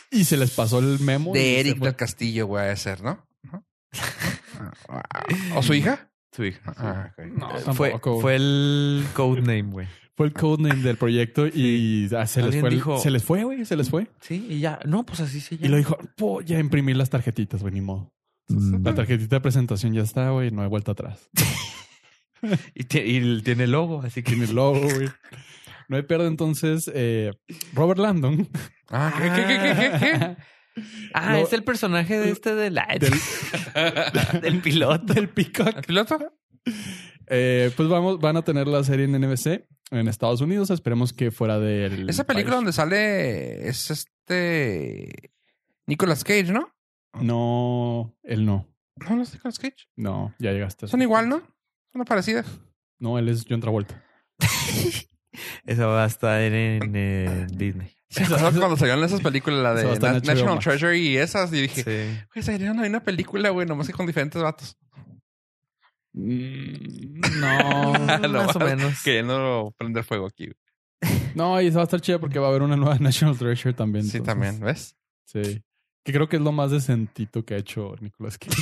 B: y se les pasó el memo. y
A: De
B: se
A: Eric
B: fue.
A: del Castillo, güey, a ser, ¿no? ¿No?
B: <laughs>
A: ¿O su hija?
C: Su hija.
A: Ah, ok.
B: No,
C: Eh,
B: tampoco.
C: Fue, fue el codename, güey.
B: Fue el codename del proyecto y ah, se, les
C: Alguien
B: fue el-
C: dijo-
B: se les fue, güey, se les fue.
C: Sí, y ya. No, pues así se
B: Y lo dijo, "Po, ya imprimí las tarjetitas, güey, ni modo.
C: Mm.
B: La tarjetita de presentación ya está, güey, no hay vuelta atrás.
C: Y, tie- y tiene logo, así que...
B: Tiene el logo, güey. No hay pierde entonces. eh,
A: <laughs>
B: Robert Landon.
A: Ah, ¿qué, qué, qué, qué, qué, qué?
C: Ah,
B: Lo-
C: es el personaje de este del...
B: del,
C: <laughs> del piloto.
B: del Peacock.
A: ¿El piloto?
B: Eh, pues vamos, van a tener la serie en NBC en Estados Unidos. Esperemos que fuera del.
A: Esa película
B: país.
A: donde sale es este. Nicolas Cage, ¿no?
B: No, él no.
A: No, no es Nicolas Cage.
B: No, ya llegaste.
A: Son igual, ¿no? Son parecidas.
B: No, él es John Travolta.
C: Eso va a estar en, en, eh, Disney.
A: ¿Te acuerdas cuando salieron
B: <laughs>
A: esas películas, la de
B: Eso va a estar en
A: Na-
B: HBO
A: National
B: Max.
A: Treasure y esas? Y dije,
C: <laughs> <laughs> Sí.
A: güey, salieron ahí una película, güey, nomás que con diferentes vatos.
B: Mm, No,
C: <laughs>
A: Lo
C: Más o
A: vas-
C: menos.
A: Queriendo prender fuego aquí. güey.
B: <laughs> no, y eso va a estar chida porque va a haber una nueva <laughs> National Treasure también.
A: Sí,
B: entonces,
A: también, ¿ves?
B: Sí. Que creo que es lo más decentito que ha hecho Nicolas Cage.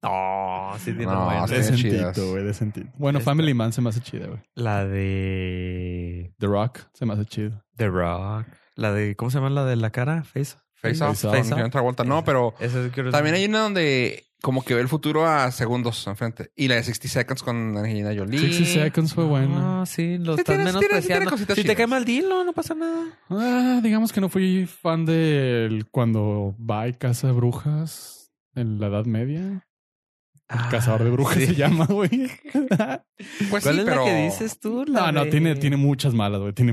C: No, sí tiene
A: No,
C: buena.
A: sí. Estarían chidas.
B: decentito, güey, decentito. Bueno,
C: Está-
B: Family Man se me hace chida, güey.
C: La de... Sí.
B: The Rock se me hace chido.
C: The Rock. La de, ¿cómo se llama la de la cara? Face.
A: Face
B: Face
A: Off,
B: Off.
A: con John Travolta. No, pero
C: Esa es que-
A: también hay una donde como que ve el futuro a segundos enfrente. Y la de 60 Seconds con Angelina Jolie.
B: 60 Seconds fue buena.
C: No, sí, lo
A: Sí tiene- sí tiene-
C: están
A: sí tiene
C: menospreciando.
A: cositas
C: si te
A: chidas.
C: cae mal, dilo, no pasa nada.
B: Ah, digamos que no fui fan del cuando va y caza brujas en la Edad Media. Cazador
A: Ah,
B: de brujas
C: Ah, sí.
B: se
A: <laughs>
B: llama, güey.
A: Pues
C: <laughs> ¿Cuál
A: sí,
C: es
A: pero...
C: la que dices tú? La
B: No, no,
C: de-
B: tiene,
C: <laughs>
B: tiene muchas malas, güey. Tiene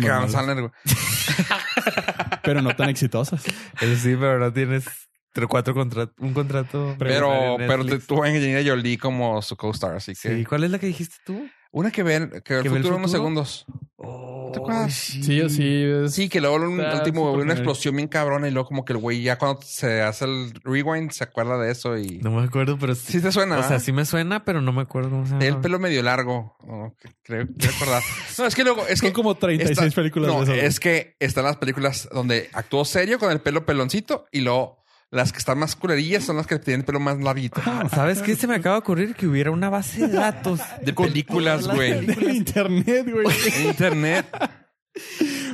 A: Igual que Adam
B: malas,
A: Sandler, güey.
B: Pero no tan exitosas.
C: Eso Eh, sí, pero no tienes tres, cuatro contratos, un contrato.
A: Pero,
C: en
A: pero te-
C: Netflix.
A: tuvo a Angelina Jolie como su co-star, así que...
C: Sí, ¿cuál es la que dijiste tú?
A: Una que ve, que ve el
C: ¿Que
A: futuro
C: ve el
A: en unos
C: futuro?
A: segundos.
C: Oh,
A: ¿Te acuerdas?
B: Sí, yo sí. es-
A: Sí, que luego un,
B: Está
A: el último güey,
B: súper
A: una
B: genérico.
A: explosión bien cabrona y luego como que el güey ya cuando se hace el rewind se acuerda de eso y...
C: No me acuerdo, pero sí.
A: Sí te suena,
C: O sea,
A: ¿verdad?
C: sí me suena, pero no me acuerdo cómo se llama.
A: Tenía el pelo medio largo. Oh, que- creo, creo
C: <laughs>
A: acordar. No, es que luego... Es
B: Son
A: que
B: como 36
A: Está-
B: películas
A: no,
B: de esas.
A: es que están las películas donde actuó serio con el pelo peloncito y luego las que están más culerillas son las que tienen el pelo más larguito.
C: Ah. ¿Sabes qué? Se me acaba de ocurrir que hubiera una base <laughs> de datos
A: De
C: con
A: películas,
C: todas las <laughs>
A: güey.
C: películas.
B: Del <laughs> internet, güey.
A: En internet.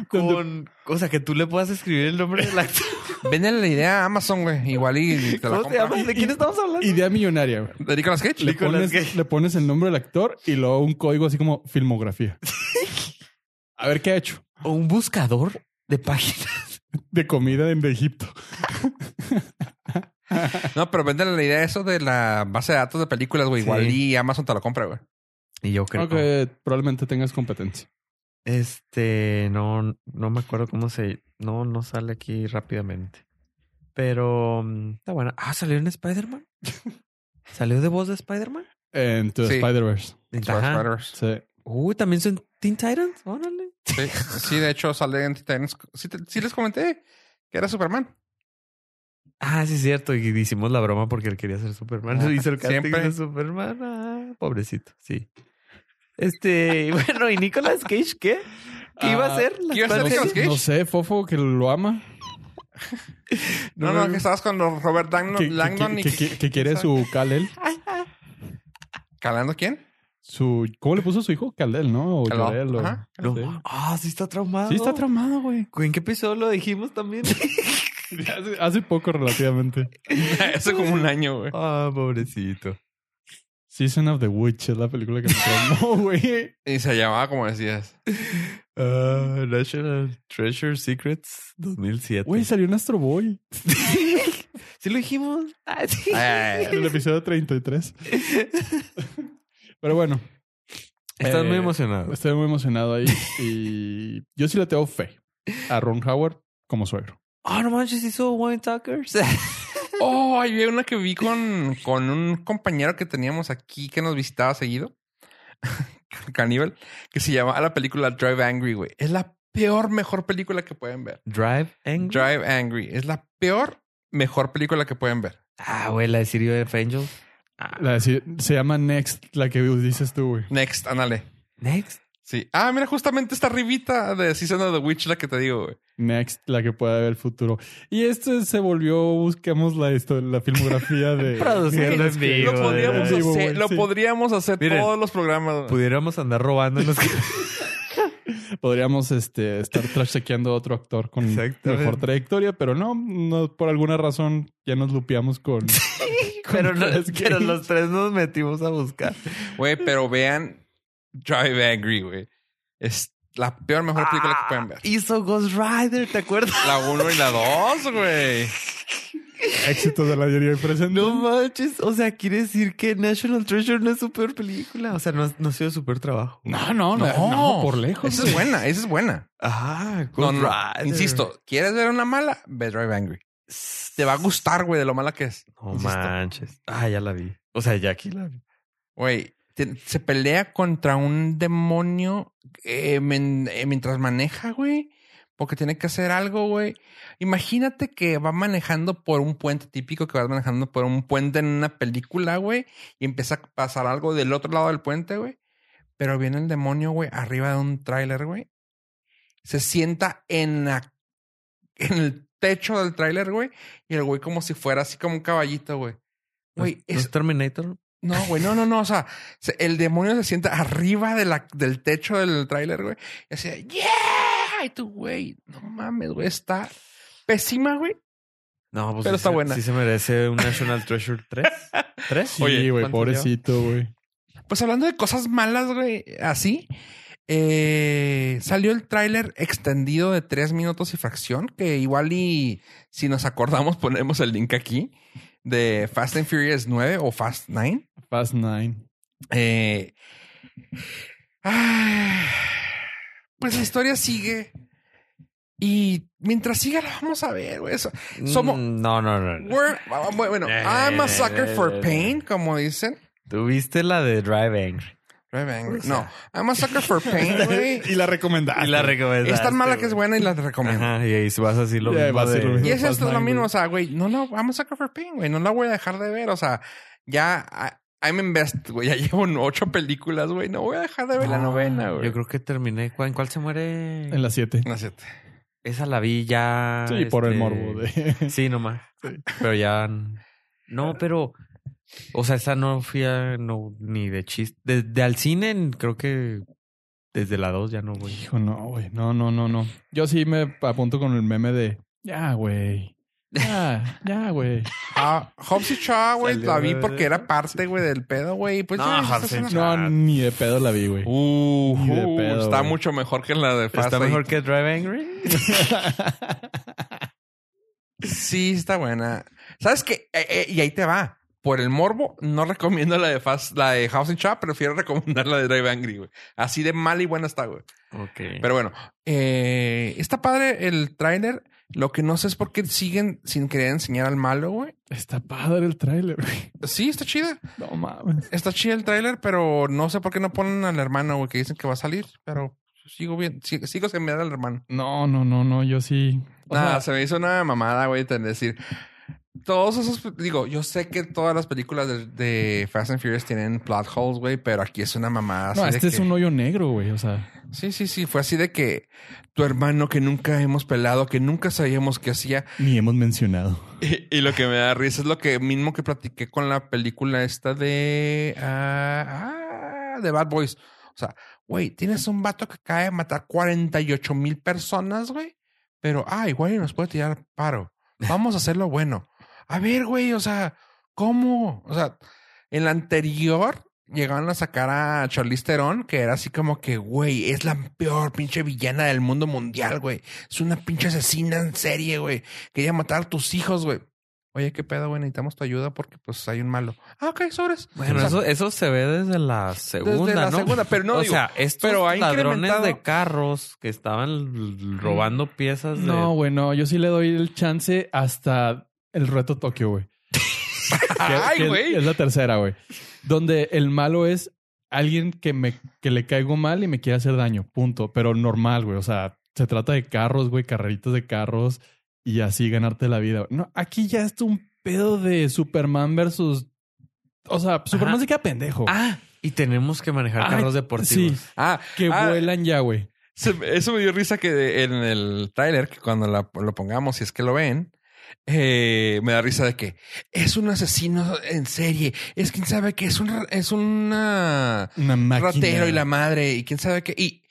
C: Con, o sea, que tú le puedas escribir el nombre <laughs> del actor.
A: Véndele la idea a Amazon, güey. Igual y te la
C: ¿Cómo se llama?
A: compra.
C: ¿De quién estamos hablando?
B: Idea millonaria, güey.
A: ¿De Nicolas Cage?
B: Le
C: Nicolas
B: pones,
C: Cage.
B: le pones el nombre del actor y luego un código así como
A: <laughs>
B: filmografía. A ver qué ha hecho.
C: O un buscador de páginas.
B: De comida en de Egipto.
A: No, pero véndele la idea eso de la base de datos de películas, güey. Igual
C: Sí.
A: y Amazon te la compra, güey.
C: Y yo creo
B: Creo que probablemente tengas competencia.
C: Este, no, no me acuerdo cómo se. No, no sale aquí rápidamente. Pero mm, está buena. Ah, salió en Spider-Man. ¿Salió de voz de Spider-Man?
B: En tu
A: Sí.
B: Spider-Verse.
A: Smash
C: Ajá.
A: Brothers.
B: Sí.
C: Uy, también son Teen Titans. Órale.
A: Sí. sí, de hecho sale en Titans. Sí, te- sí les comenté que era Superman.
C: Ah, sí, es cierto. Y hicimos la broma porque él quería ser Superman.
A: Ah,
C: <laughs> Hizo el casting
A: siempre.
C: de Superman. Ah, pobrecito, sí. Este, y bueno, ¿y Nicolas Cage qué? ¿Qué iba a
B: Ah,
C: hacer? ¿Las
A: ¿qué iba a hacer
C: cuatro
A: Nicolas
C: series?
A: ¿Cage?
B: No sé, Fofo, que lo ama.
A: No, no, que estabas con los Robert Dagno-
B: Que, que-
A: Langdon
B: que-
A: y...
B: que- que- que quiere su Kalel.
A: ¿Calando quién? <laughs>
B: Su, ¿Cómo le puso su hijo? Kaldel, ¿no? O
A: Kalel,
B: Llorel, o-
A: ajá.
C: <laughs> No.
B: Sí.
C: Ah, sí está traumado.
B: Sí, está traumado, güey.
C: ¿En qué episodio lo dijimos también?
A: <laughs>
B: Hace, hace poco relativamente.
A: Hace como un año, güey.
C: Ah, pobrecito.
B: Season of the Witch es la película que me traumó, <laughs> güey.
A: Y se llamaba como decías.
C: Ah, National Treasure Secrets 2007.
B: Güey, salió un Astro Boy
C: sí lo dijimos. Ah, sí. <laughs>
A: Eh,
B: en el episodio 33. Pero bueno,
C: Estás
B: Eh,
C: muy emocionado.
B: estoy muy emocionado ahí. Y yo sí le tengo fe a Ron Howard como suegro.
C: Ah, no manches, hizo Wine Talkers. <laughs>
A: Oh, había una que vi con, con un compañero que teníamos aquí que nos visitaba seguido, <laughs> Caníbal, que se llamaba la película Drive Angry, güey. Es la peor, mejor película que pueden ver.
C: Drive and
A: Drive Angry. Es la peor, mejor película que pueden ver.
C: Ah, güey, la de Sirio de Ah, Angels.
B: La de- se llama Next, la que dices tú, güey.
A: Next, ándale.
C: Next.
A: Sí. Ah, mira, justamente esta ribita de Season of the Witch, la que te digo, güey.
B: Next, la que pueda ver el futuro. Y esto se volvió, busquemos la, esto, la filmografía
C: <laughs>
B: de...
C: Produciendo en vivo,
A: Lo podríamos
B: Sí, güey,
A: hacer, lo
B: sí.
A: podríamos hacer
C: Miren.
A: todos los programas. güey.
C: Pudiéramos andar robando los <laughs> que...
B: Podríamos este, estar trashequeando a otro actor con
C: Exactamente.
B: mejor trayectoria, pero no, no, por alguna razón ya nos lupeamos
C: <laughs>
B: con...
C: pero, no-
B: Nicolas Cage.
C: pero los tres nos metimos a buscar.
A: Güey, pero vean Drive Angry, güey. Es la peor, mejor película que pueden ver.
C: Ah, hizo Ghost Rider, ¿te acuerdas?
A: La 1 y la 2, güey.
B: éxitos de la mayoría de presente.
C: No manches. O sea, quiere decir que National Treasure no es su peor película. O sea, no, no ha sido su peor trabajo.
B: No, no,
A: Esa es buena, esa es buena.
C: Ah,
A: No,
C: Ghost
A: no,
C: Rider.
A: Insisto, ¿quieres ver una mala? Ve Drive Angry. Te va a gustar, güey, de lo mala que es.
C: No
A: Insisto.
C: manches. Ah, ya la vi. O sea, ya aquí la vi.
A: Güey, te- se pelea contra un demonio eh, men- eh, mientras maneja, güey. Porque tiene que hacer algo, güey. Imagínate que va manejando por un puente típico, que vas manejando por un puente en una película, güey. Y empieza a pasar algo del otro lado del puente, güey. Pero viene el demonio, güey, arriba de un tráiler, güey. Se sienta en, la- en el techo del tráiler, güey. Y el güey como si fuera así como un caballito, güey. Güey,
C: ¿No es
A: es
C: Terminator?
A: No, güey, no, no, no. O sea, se- el demonio se sienta arriba de la, del techo del tráiler, güey. Y así, de, ¡yeah! Y tú, güey, no mames, güey, está pésima, güey.
C: No, pues
A: Pero
C: sí
A: está
C: se-
A: buena.
C: Sí se merece un National Treasure <laughs> 3. ¿Tres?
B: Sí, güey,
C: ¿Cuántos
B: pobrecito, güey.
A: Pues hablando de cosas malas, güey, así. eh, salió el tráiler extendido de tres minutos y fracción, que igual y si nos acordamos ponemos el link aquí, de Fast and Furious 9 o Fast 9.
B: Fast Nine.
A: Eh, ah, pues la historia sigue. Y mientras siga, la vamos a ver, güey. Eso-
C: lleva?
A: Somos-
C: Mm, No, no, no. no.
A: we're- ah, Bueno, I'm a sucker for pain, como dicen.
C: Tuviste la de Drive Angry.
A: Drive Angry. No, I'm a sucker for
B: <laughs>
A: pain, güey.
B: Y la recomendaste.
C: Y la recomendaste.
A: Es tan mala que es buena y la recomiendo.
C: Ajá, y ahí vas así lo
B: Y ahí
C: mismo
B: va a ser
C: de-
B: lo mismo.
A: Y eso es
B: Fast
A: lo
B: Nine,
A: mismo,
B: güey.
A: o sea, güey, no la vamos a sacar for pain, güey, no la voy a dejar de ver, o sea, ya I- I'm invest, güey, ya llevo ocho películas, güey, no voy a dejar de ver la
C: Ah,
A: novena, güey.
C: Yo creo que terminé. ¿Cu- ¿En cuál se muere?
B: En la 7.
A: No es cierto.
C: Esa la vi ya.
B: Sí, por el
C: este,
B: morbo. De... <laughs>
C: Sí, nomás. Pero ya. n- No, pero. O sea, esa no fui a. No, ni de chiste. Desde al cine, n- creo que. Desde la 2 ya no voy.
B: Hijo, no, güey. No, no, no, no. Yo sí me apunto con el meme de ya, güey. Ya, ya, güey.
A: Ah, Hobbs y Shaw, güey,
C: Salió
A: la vi
C: de-
A: porque era parte, güey, del pedo, güey, y pues
C: No,
A: ya,
C: Hobbs
A: esa
C: y
A: escena-
B: No, ni de pedo la vi, güey.
A: Uh,
B: Ni de
A: uh,
B: pedo,
A: está
B: güey.
A: mucho mejor que la de Fast
C: ¿Está
A: Eight.
C: mejor que Drive Angry?
A: Sí, está buena. ¿Sabes qué? Eh, eh, y ahí te va. Por el morbo, no recomiendo la de Fast, la de House and Shop, prefiero recomendar la de Drive Angry, güey. Así de mal y buena está, güey.
C: Ok.
A: Pero bueno, eh, está padre el tráiler. Lo que no sé es por qué siguen sin querer enseñar al malo, güey.
B: Está padre el tráiler, güey.
A: Sí, está chida.
B: No mames.
A: Está chida el tráiler, pero no sé por qué no ponen al hermano, güey, que dicen que va a salir. Pero sigo bien, si- sigo sin mirar al hermano.
B: No, no, no, no. Yo sí. O
A: Nada,
B: sea,
A: se me hizo una mamada, güey, tener decir. Todos esos, digo, yo sé que todas las películas de, de Fast and Furious tienen plot holes, güey, pero aquí es una mamada.
B: no,
A: así de
B: este es
A: que-
B: un hoyo negro, güey. O sea,
A: Sí, sí, sí, fue así de que tu hermano que nunca hemos pelado, que nunca sabíamos que hacía,
B: ni hemos mencionado.
A: <laughs> Y, y lo que me da risa es lo que mismo que platiqué con la película esta de ah, ah, de Bad Boys. O sea, güey, tienes un vato que acaba de matar 48 mil personas, güey. Pero, ah, igual y nos puede tirar paro. Vamos a hacerlo bueno. A ver, güey, o sea, ¿cómo? O sea, en la anterior llegaron a sacar a Charlize Theron, que era así como que, güey, es la peor pinche villana del mundo mundial, güey. Es una pinche asesina en serie, güey. Quería matar a tus hijos, güey. Oye, qué pedo, güey, necesitamos tu ayuda porque pues hay un malo. Ah, ok, sobres.
C: Bueno,
A: O sea,
C: eso, eso se ve desde la segunda,
A: desde la
C: ¿no?
A: segunda, pero no
C: o
A: digo,
C: sea, estos
A: pero ha
C: ladrones
A: incrementado-
C: de carros que estaban robando piezas de...
B: No, güey, no. Yo sí le doy el chance hasta el reto
A: <laughs>
B: Tokio, güey. Que- que
A: Ay,
B: es-
A: güey.
B: Es la tercera, güey. Donde el malo es alguien que me que le caigo mal y me quiere hacer daño. Punto. Pero normal, güey. O sea, se trata de carros, güey, carreritas de carros y así ganarte la vida. No, aquí ya está un pedo de Superman versus. O sea, Superman
C: Ajá.
B: se queda pendejo.
C: Ah, y tenemos que manejar
B: Ay,
C: carros deportivos.
B: sí.
A: Ah,
B: que
A: ah,
B: vuelan ya, güey.
A: se me- eso me dio risa que de- en el tráiler, que cuando la- lo pongamos, si es que lo ven, eh, me da risa de que es un asesino en serie. Es quien sabe que es un es una
B: Una máquina.
A: ratero y la madre y quién sabe qué y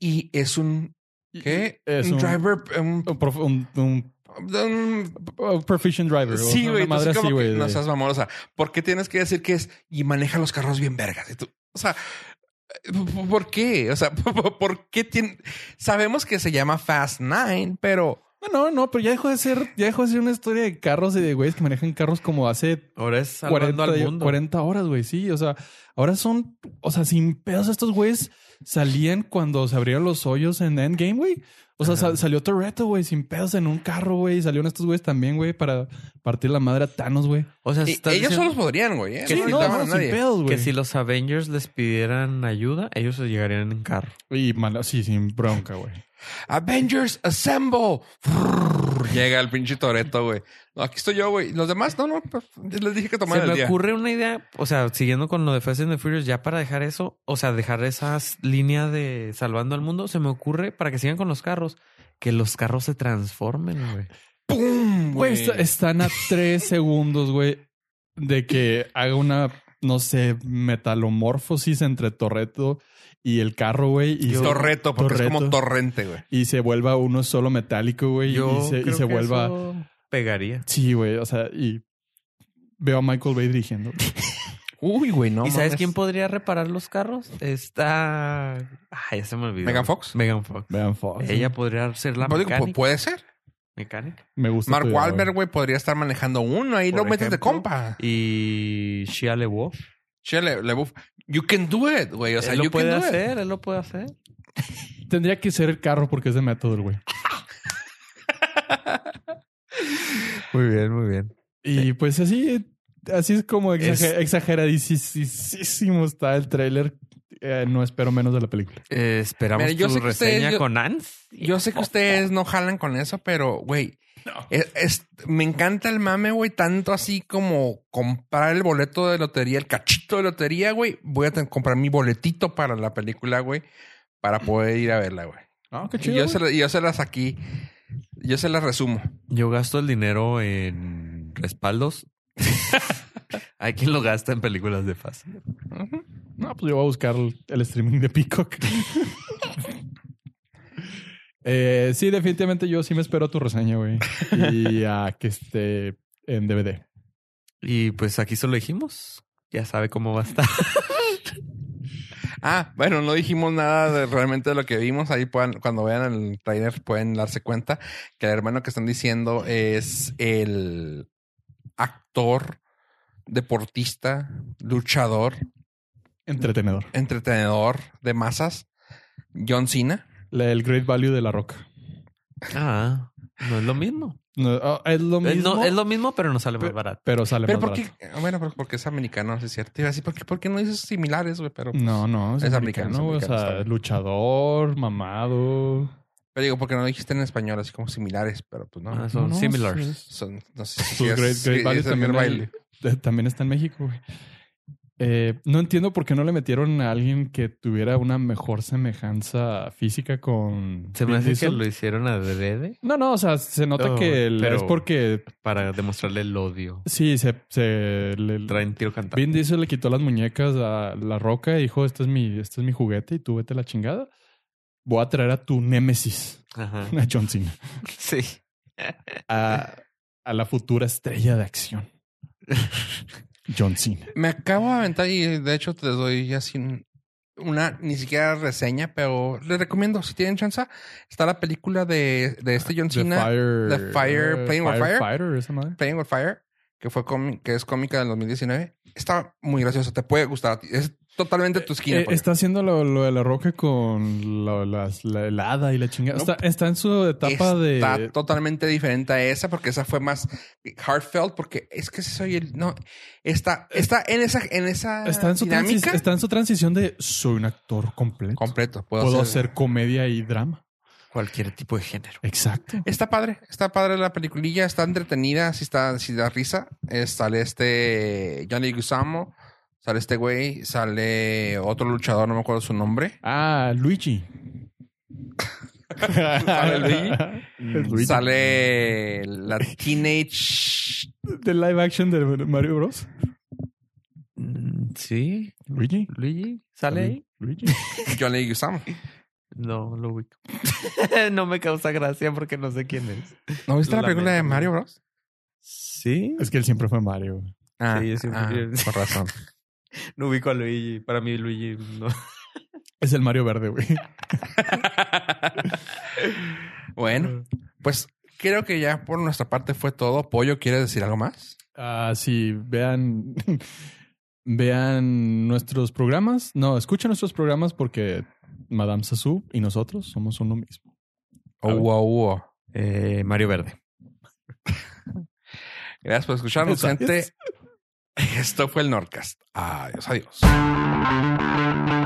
A: y es un qué
B: Es
A: un,
B: un,
A: driver un-
B: un prof- un- un
A: un-
B: Oh, proficient driver. o
A: sí
B: sea,
A: güey
B: Una madre
A: entonces
B: así,
A: como que
B: güey.
A: no
B: de-
A: seas mamón o sea por qué tienes que decir que es y maneja los carros bien vergas Y tú, o sea eh, ¿Por qué? O sea, <laughs> ¿por qué tiene...? Sabemos que se llama Fast Nine, pero...
B: No, no, no, pero ya dejó de ser, ya dejó de ser una historia de carros y de güeyes que manejan carros como hace
C: Ahora es salvando
B: 40,
C: al mundo.
B: 40 horas, güey. Sí, o sea, ahora son, o sea, sin pedos estos güeyes salían cuando se abrieron los hoyos en Endgame, güey. O sea,
C: Ajá.
B: sal- salió Toretto, güey, sin pedos en un carro, güey. Y salieron estos güeyes también, güey, para partir la madre a Thanos, güey.
C: O sea,
A: e-
C: Pues estás
A: ellos
C: diciendo
A: solos podrían, güey. ¿eh?
C: Que
A: no
C: sí,
A: necesitaban
C: no,
A: a
B: sin
A: nadie.
B: pedos,
C: que
B: güey.
C: si los Avengers les pidieran ayuda, ellos se llegarían en carro.
B: Y mala- sí, sin bronca, güey.
A: Avengers Assemble. <laughs> Llega el pinche Toreto, güey. No, aquí estoy yo, güey. Los demás, no, no. pues, Les dije que
C: Se
A: tomaran el
C: me
A: día.
C: ocurre una idea, o sea, siguiendo con lo de Fast and the Furious, ya para dejar eso, o sea, dejar esas líneas de salvando al mundo, se me ocurre para que sigan con los carros, que los carros se transformen, güey.
A: ¡Pum!
C: Mm,
B: Pues están a tres segundos, güey, de que haga una no sé, metalomorfosis entre Torreto y el carro, güey. Y, se-
A: Torreto, porque es como
B: Torreto.
A: torrente, güey.
B: y se vuelva uno solo metálico, güey. Y se, y se vuelva.
C: Pegaría.
B: Sí, güey. O sea, y veo a Michael Bay dirigiendo.
A: Uy, güey, no.
C: ¿Y sabes
A: mames.
C: quién podría reparar los carros? Está. Ah, ya se me olvidó.
A: Megan Fox.
C: Megan Fox.
B: Vean, fuck.
C: Ella podría ser la
A: Pues digo, pu-
C: mecánica.
A: puede ser.
C: mecánica.
B: Me gusta.
A: Mark
B: tu idea,
A: Wahlberg, güey, podría estar manejando uno. Ahí
C: eh.
A: lo
C: Por
A: metes de
C: ejemplo.
A: compa.
C: Y Shia LeBeouf.
A: Chele, le buf- You can do it, güey. O sea,
C: él lo
A: you
C: puede
A: can do it.
C: hacer, él lo puede hacer.
B: Tendría que ser el carro porque es de Metal, güey.
C: Muy bien, muy bien.
B: Y pues así, así es como
C: Es-
B: exager- exageradísimo está el tráiler. Eh, no espero menos de la película.
C: Eh, esperamos
A: Mira, yo
C: tu
A: sé que
C: reseña
A: ustedes- yo-
C: con Ans.
A: Yo sé que
C: Oh,
A: ustedes no jalan con eso, pero, güey, es- es- me encanta el mame, güey, tanto así como comprar el boleto de lotería, el cachito de lotería, güey. Voy a ten- comprar mi boletito para la película, güey, para poder ir a verla, güey.
B: Ah, qué
A: Y yo, se, la- yo se las aquí, yo se las resumo.
C: Yo gasto el dinero en respaldos. <laughs> Hay quien lo gasta en películas de fase.
A: Ujú.
B: No, pues yo voy a buscar el el streaming de Peacock. <laughs> Eh, sí, definitivamente yo sí me espero tu reseña, güey. <laughs> Y a que esté en DVD.
C: Y pues aquí se lo dijimos. Ya sabe cómo va a estar.
A: Ah, bueno, no dijimos nada de realmente de lo que vimos. Ahí puedan, cuando vean el trailer pueden darse cuenta que el hermano que están diciendo es el actor, deportista, luchador,
B: Entretenedor.
A: entretenedor de masas, John Cena.
B: La- el Great Value de la Roca.
C: <laughs> Ah, no es lo mismo.
B: No, ah, es lo
C: Es,
B: mismo,
C: no- es lo mismo, pero no sale más barato.
B: pero sale
A: Pero
B: más
A: porque,
B: barato.
A: bueno, pero porque es americano, sí es cierto. Te Iba a decir, ¿por qué, por qué no dices similares, güey? Pero, pues,
B: No, no, es,
A: Es americano,
B: americano, güey,
A: es americano,
B: o sea,
A: está bien.
B: luchador, mamado.
A: pero digo, porque no dijiste en español, así como similares, pero pues no.
C: Ah, son
B: No,
C: similars.
B: sí, sí.
A: Son, no sé si
B: Sus
A: es-
B: Great, Great
A: sí,
B: Value
A: es el
B: también,
A: baile.
B: hay- eh, también está en México, güey. Eh, no entiendo por qué no le metieron a alguien que tuviera una mejor semejanza física con.
C: Se me
B: Vin
C: hace que
B: Diesel.
C: lo hicieron adrede
B: No, no, o sea, se nota
C: No,
B: que el-
C: pero-
B: es porque
C: para demostrarle el odio.
B: sí, se, se le-
C: Traen tiro cantante.
B: Vin Diesel le quitó las muñecas a la roca y dijo: Este es mi, este es mi juguete y tú vete a la chingada. Voy a traer a tu némesis, <laughs>
C: Ajá.
B: a John Cena,
C: <laughs> Sí.
B: a, a la futura estrella de
C: <laughs>
B: acción, John Cena.
A: Me acabo de aventar y de hecho te doy así un- una ni siquiera reseña, pero les recomiendo si tienen chance. Está la película de, de este John
B: Ah, The
A: Cena,
B: Fire,
A: The Fire,
B: eh,
A: Playing with Fire.
B: Firefighter, esa madre.
A: Playing with Fire, que fue cómi- que es cómica del 2019. Está muy graciosa, te puede gustar a ti. Es totalmente tu esquina.
B: Eh,
A: pollo.
B: está haciendo lo, lo de la roca con lo- las- la helada y la chingada.
A: No,
B: Está, está en su etapa
A: Está
B: de.
A: totalmente diferente a esa, porque esa fue más heartfelt, porque es que soy el no está está en esa en esa
B: Eh, Está en, su transi-
A: dinámica
B: está en su transición de soy un actor completo.
A: completo. Puedo,
B: Puedo
A: hacer
B: hacer comedia y drama.
C: Cualquier tipo de género.
B: Exacto.
A: Está padre, está padre la peliculilla, está entretenida, si está, si da risa. Eh, sale este Johnny Gusamo, sale este güey, sale otro luchador, no me acuerdo su nombre.
B: Ah, Luigi.
A: ¿Sale
B: <laughs> Es Luigi.
A: Sale la Teenage.
B: De live action de Mario Bros.
C: Mm, Sí.
B: Luigi.
C: Luigi, ¿sale ahí?
B: Luigi.
A: Johnny Gusamo.
C: No, lo ubico. <laughs> no me causa gracia porque no sé quién es.
A: ¿No viste la
C: Lamento.
A: película de Mario Bros?
C: Sí.
B: Es que él siempre fue Mario.
A: Ah,
C: Sí, sí,
A: ah,
C: sí.
A: por
C: <laughs>
A: razón.
C: No ubico a Luigi. Para mí, Luigi no.
B: Es el Mario verde, güey.
A: Bueno, pues creo que ya por nuestra parte fue todo. Pollo, ¿quieres decir algo más?
B: Ah, sí, vean. <laughs> Vean nuestros programas. No, escuchen nuestros programas porque Madame Sassou y nosotros somos uno mismo.
A: Oh, wow, wow.
C: Eh, Mario Verde.
A: Gracias por escucharnos,
B: Gracias.
A: <laughs> gente. Esto fue el Nordcast. Adiós, adiós.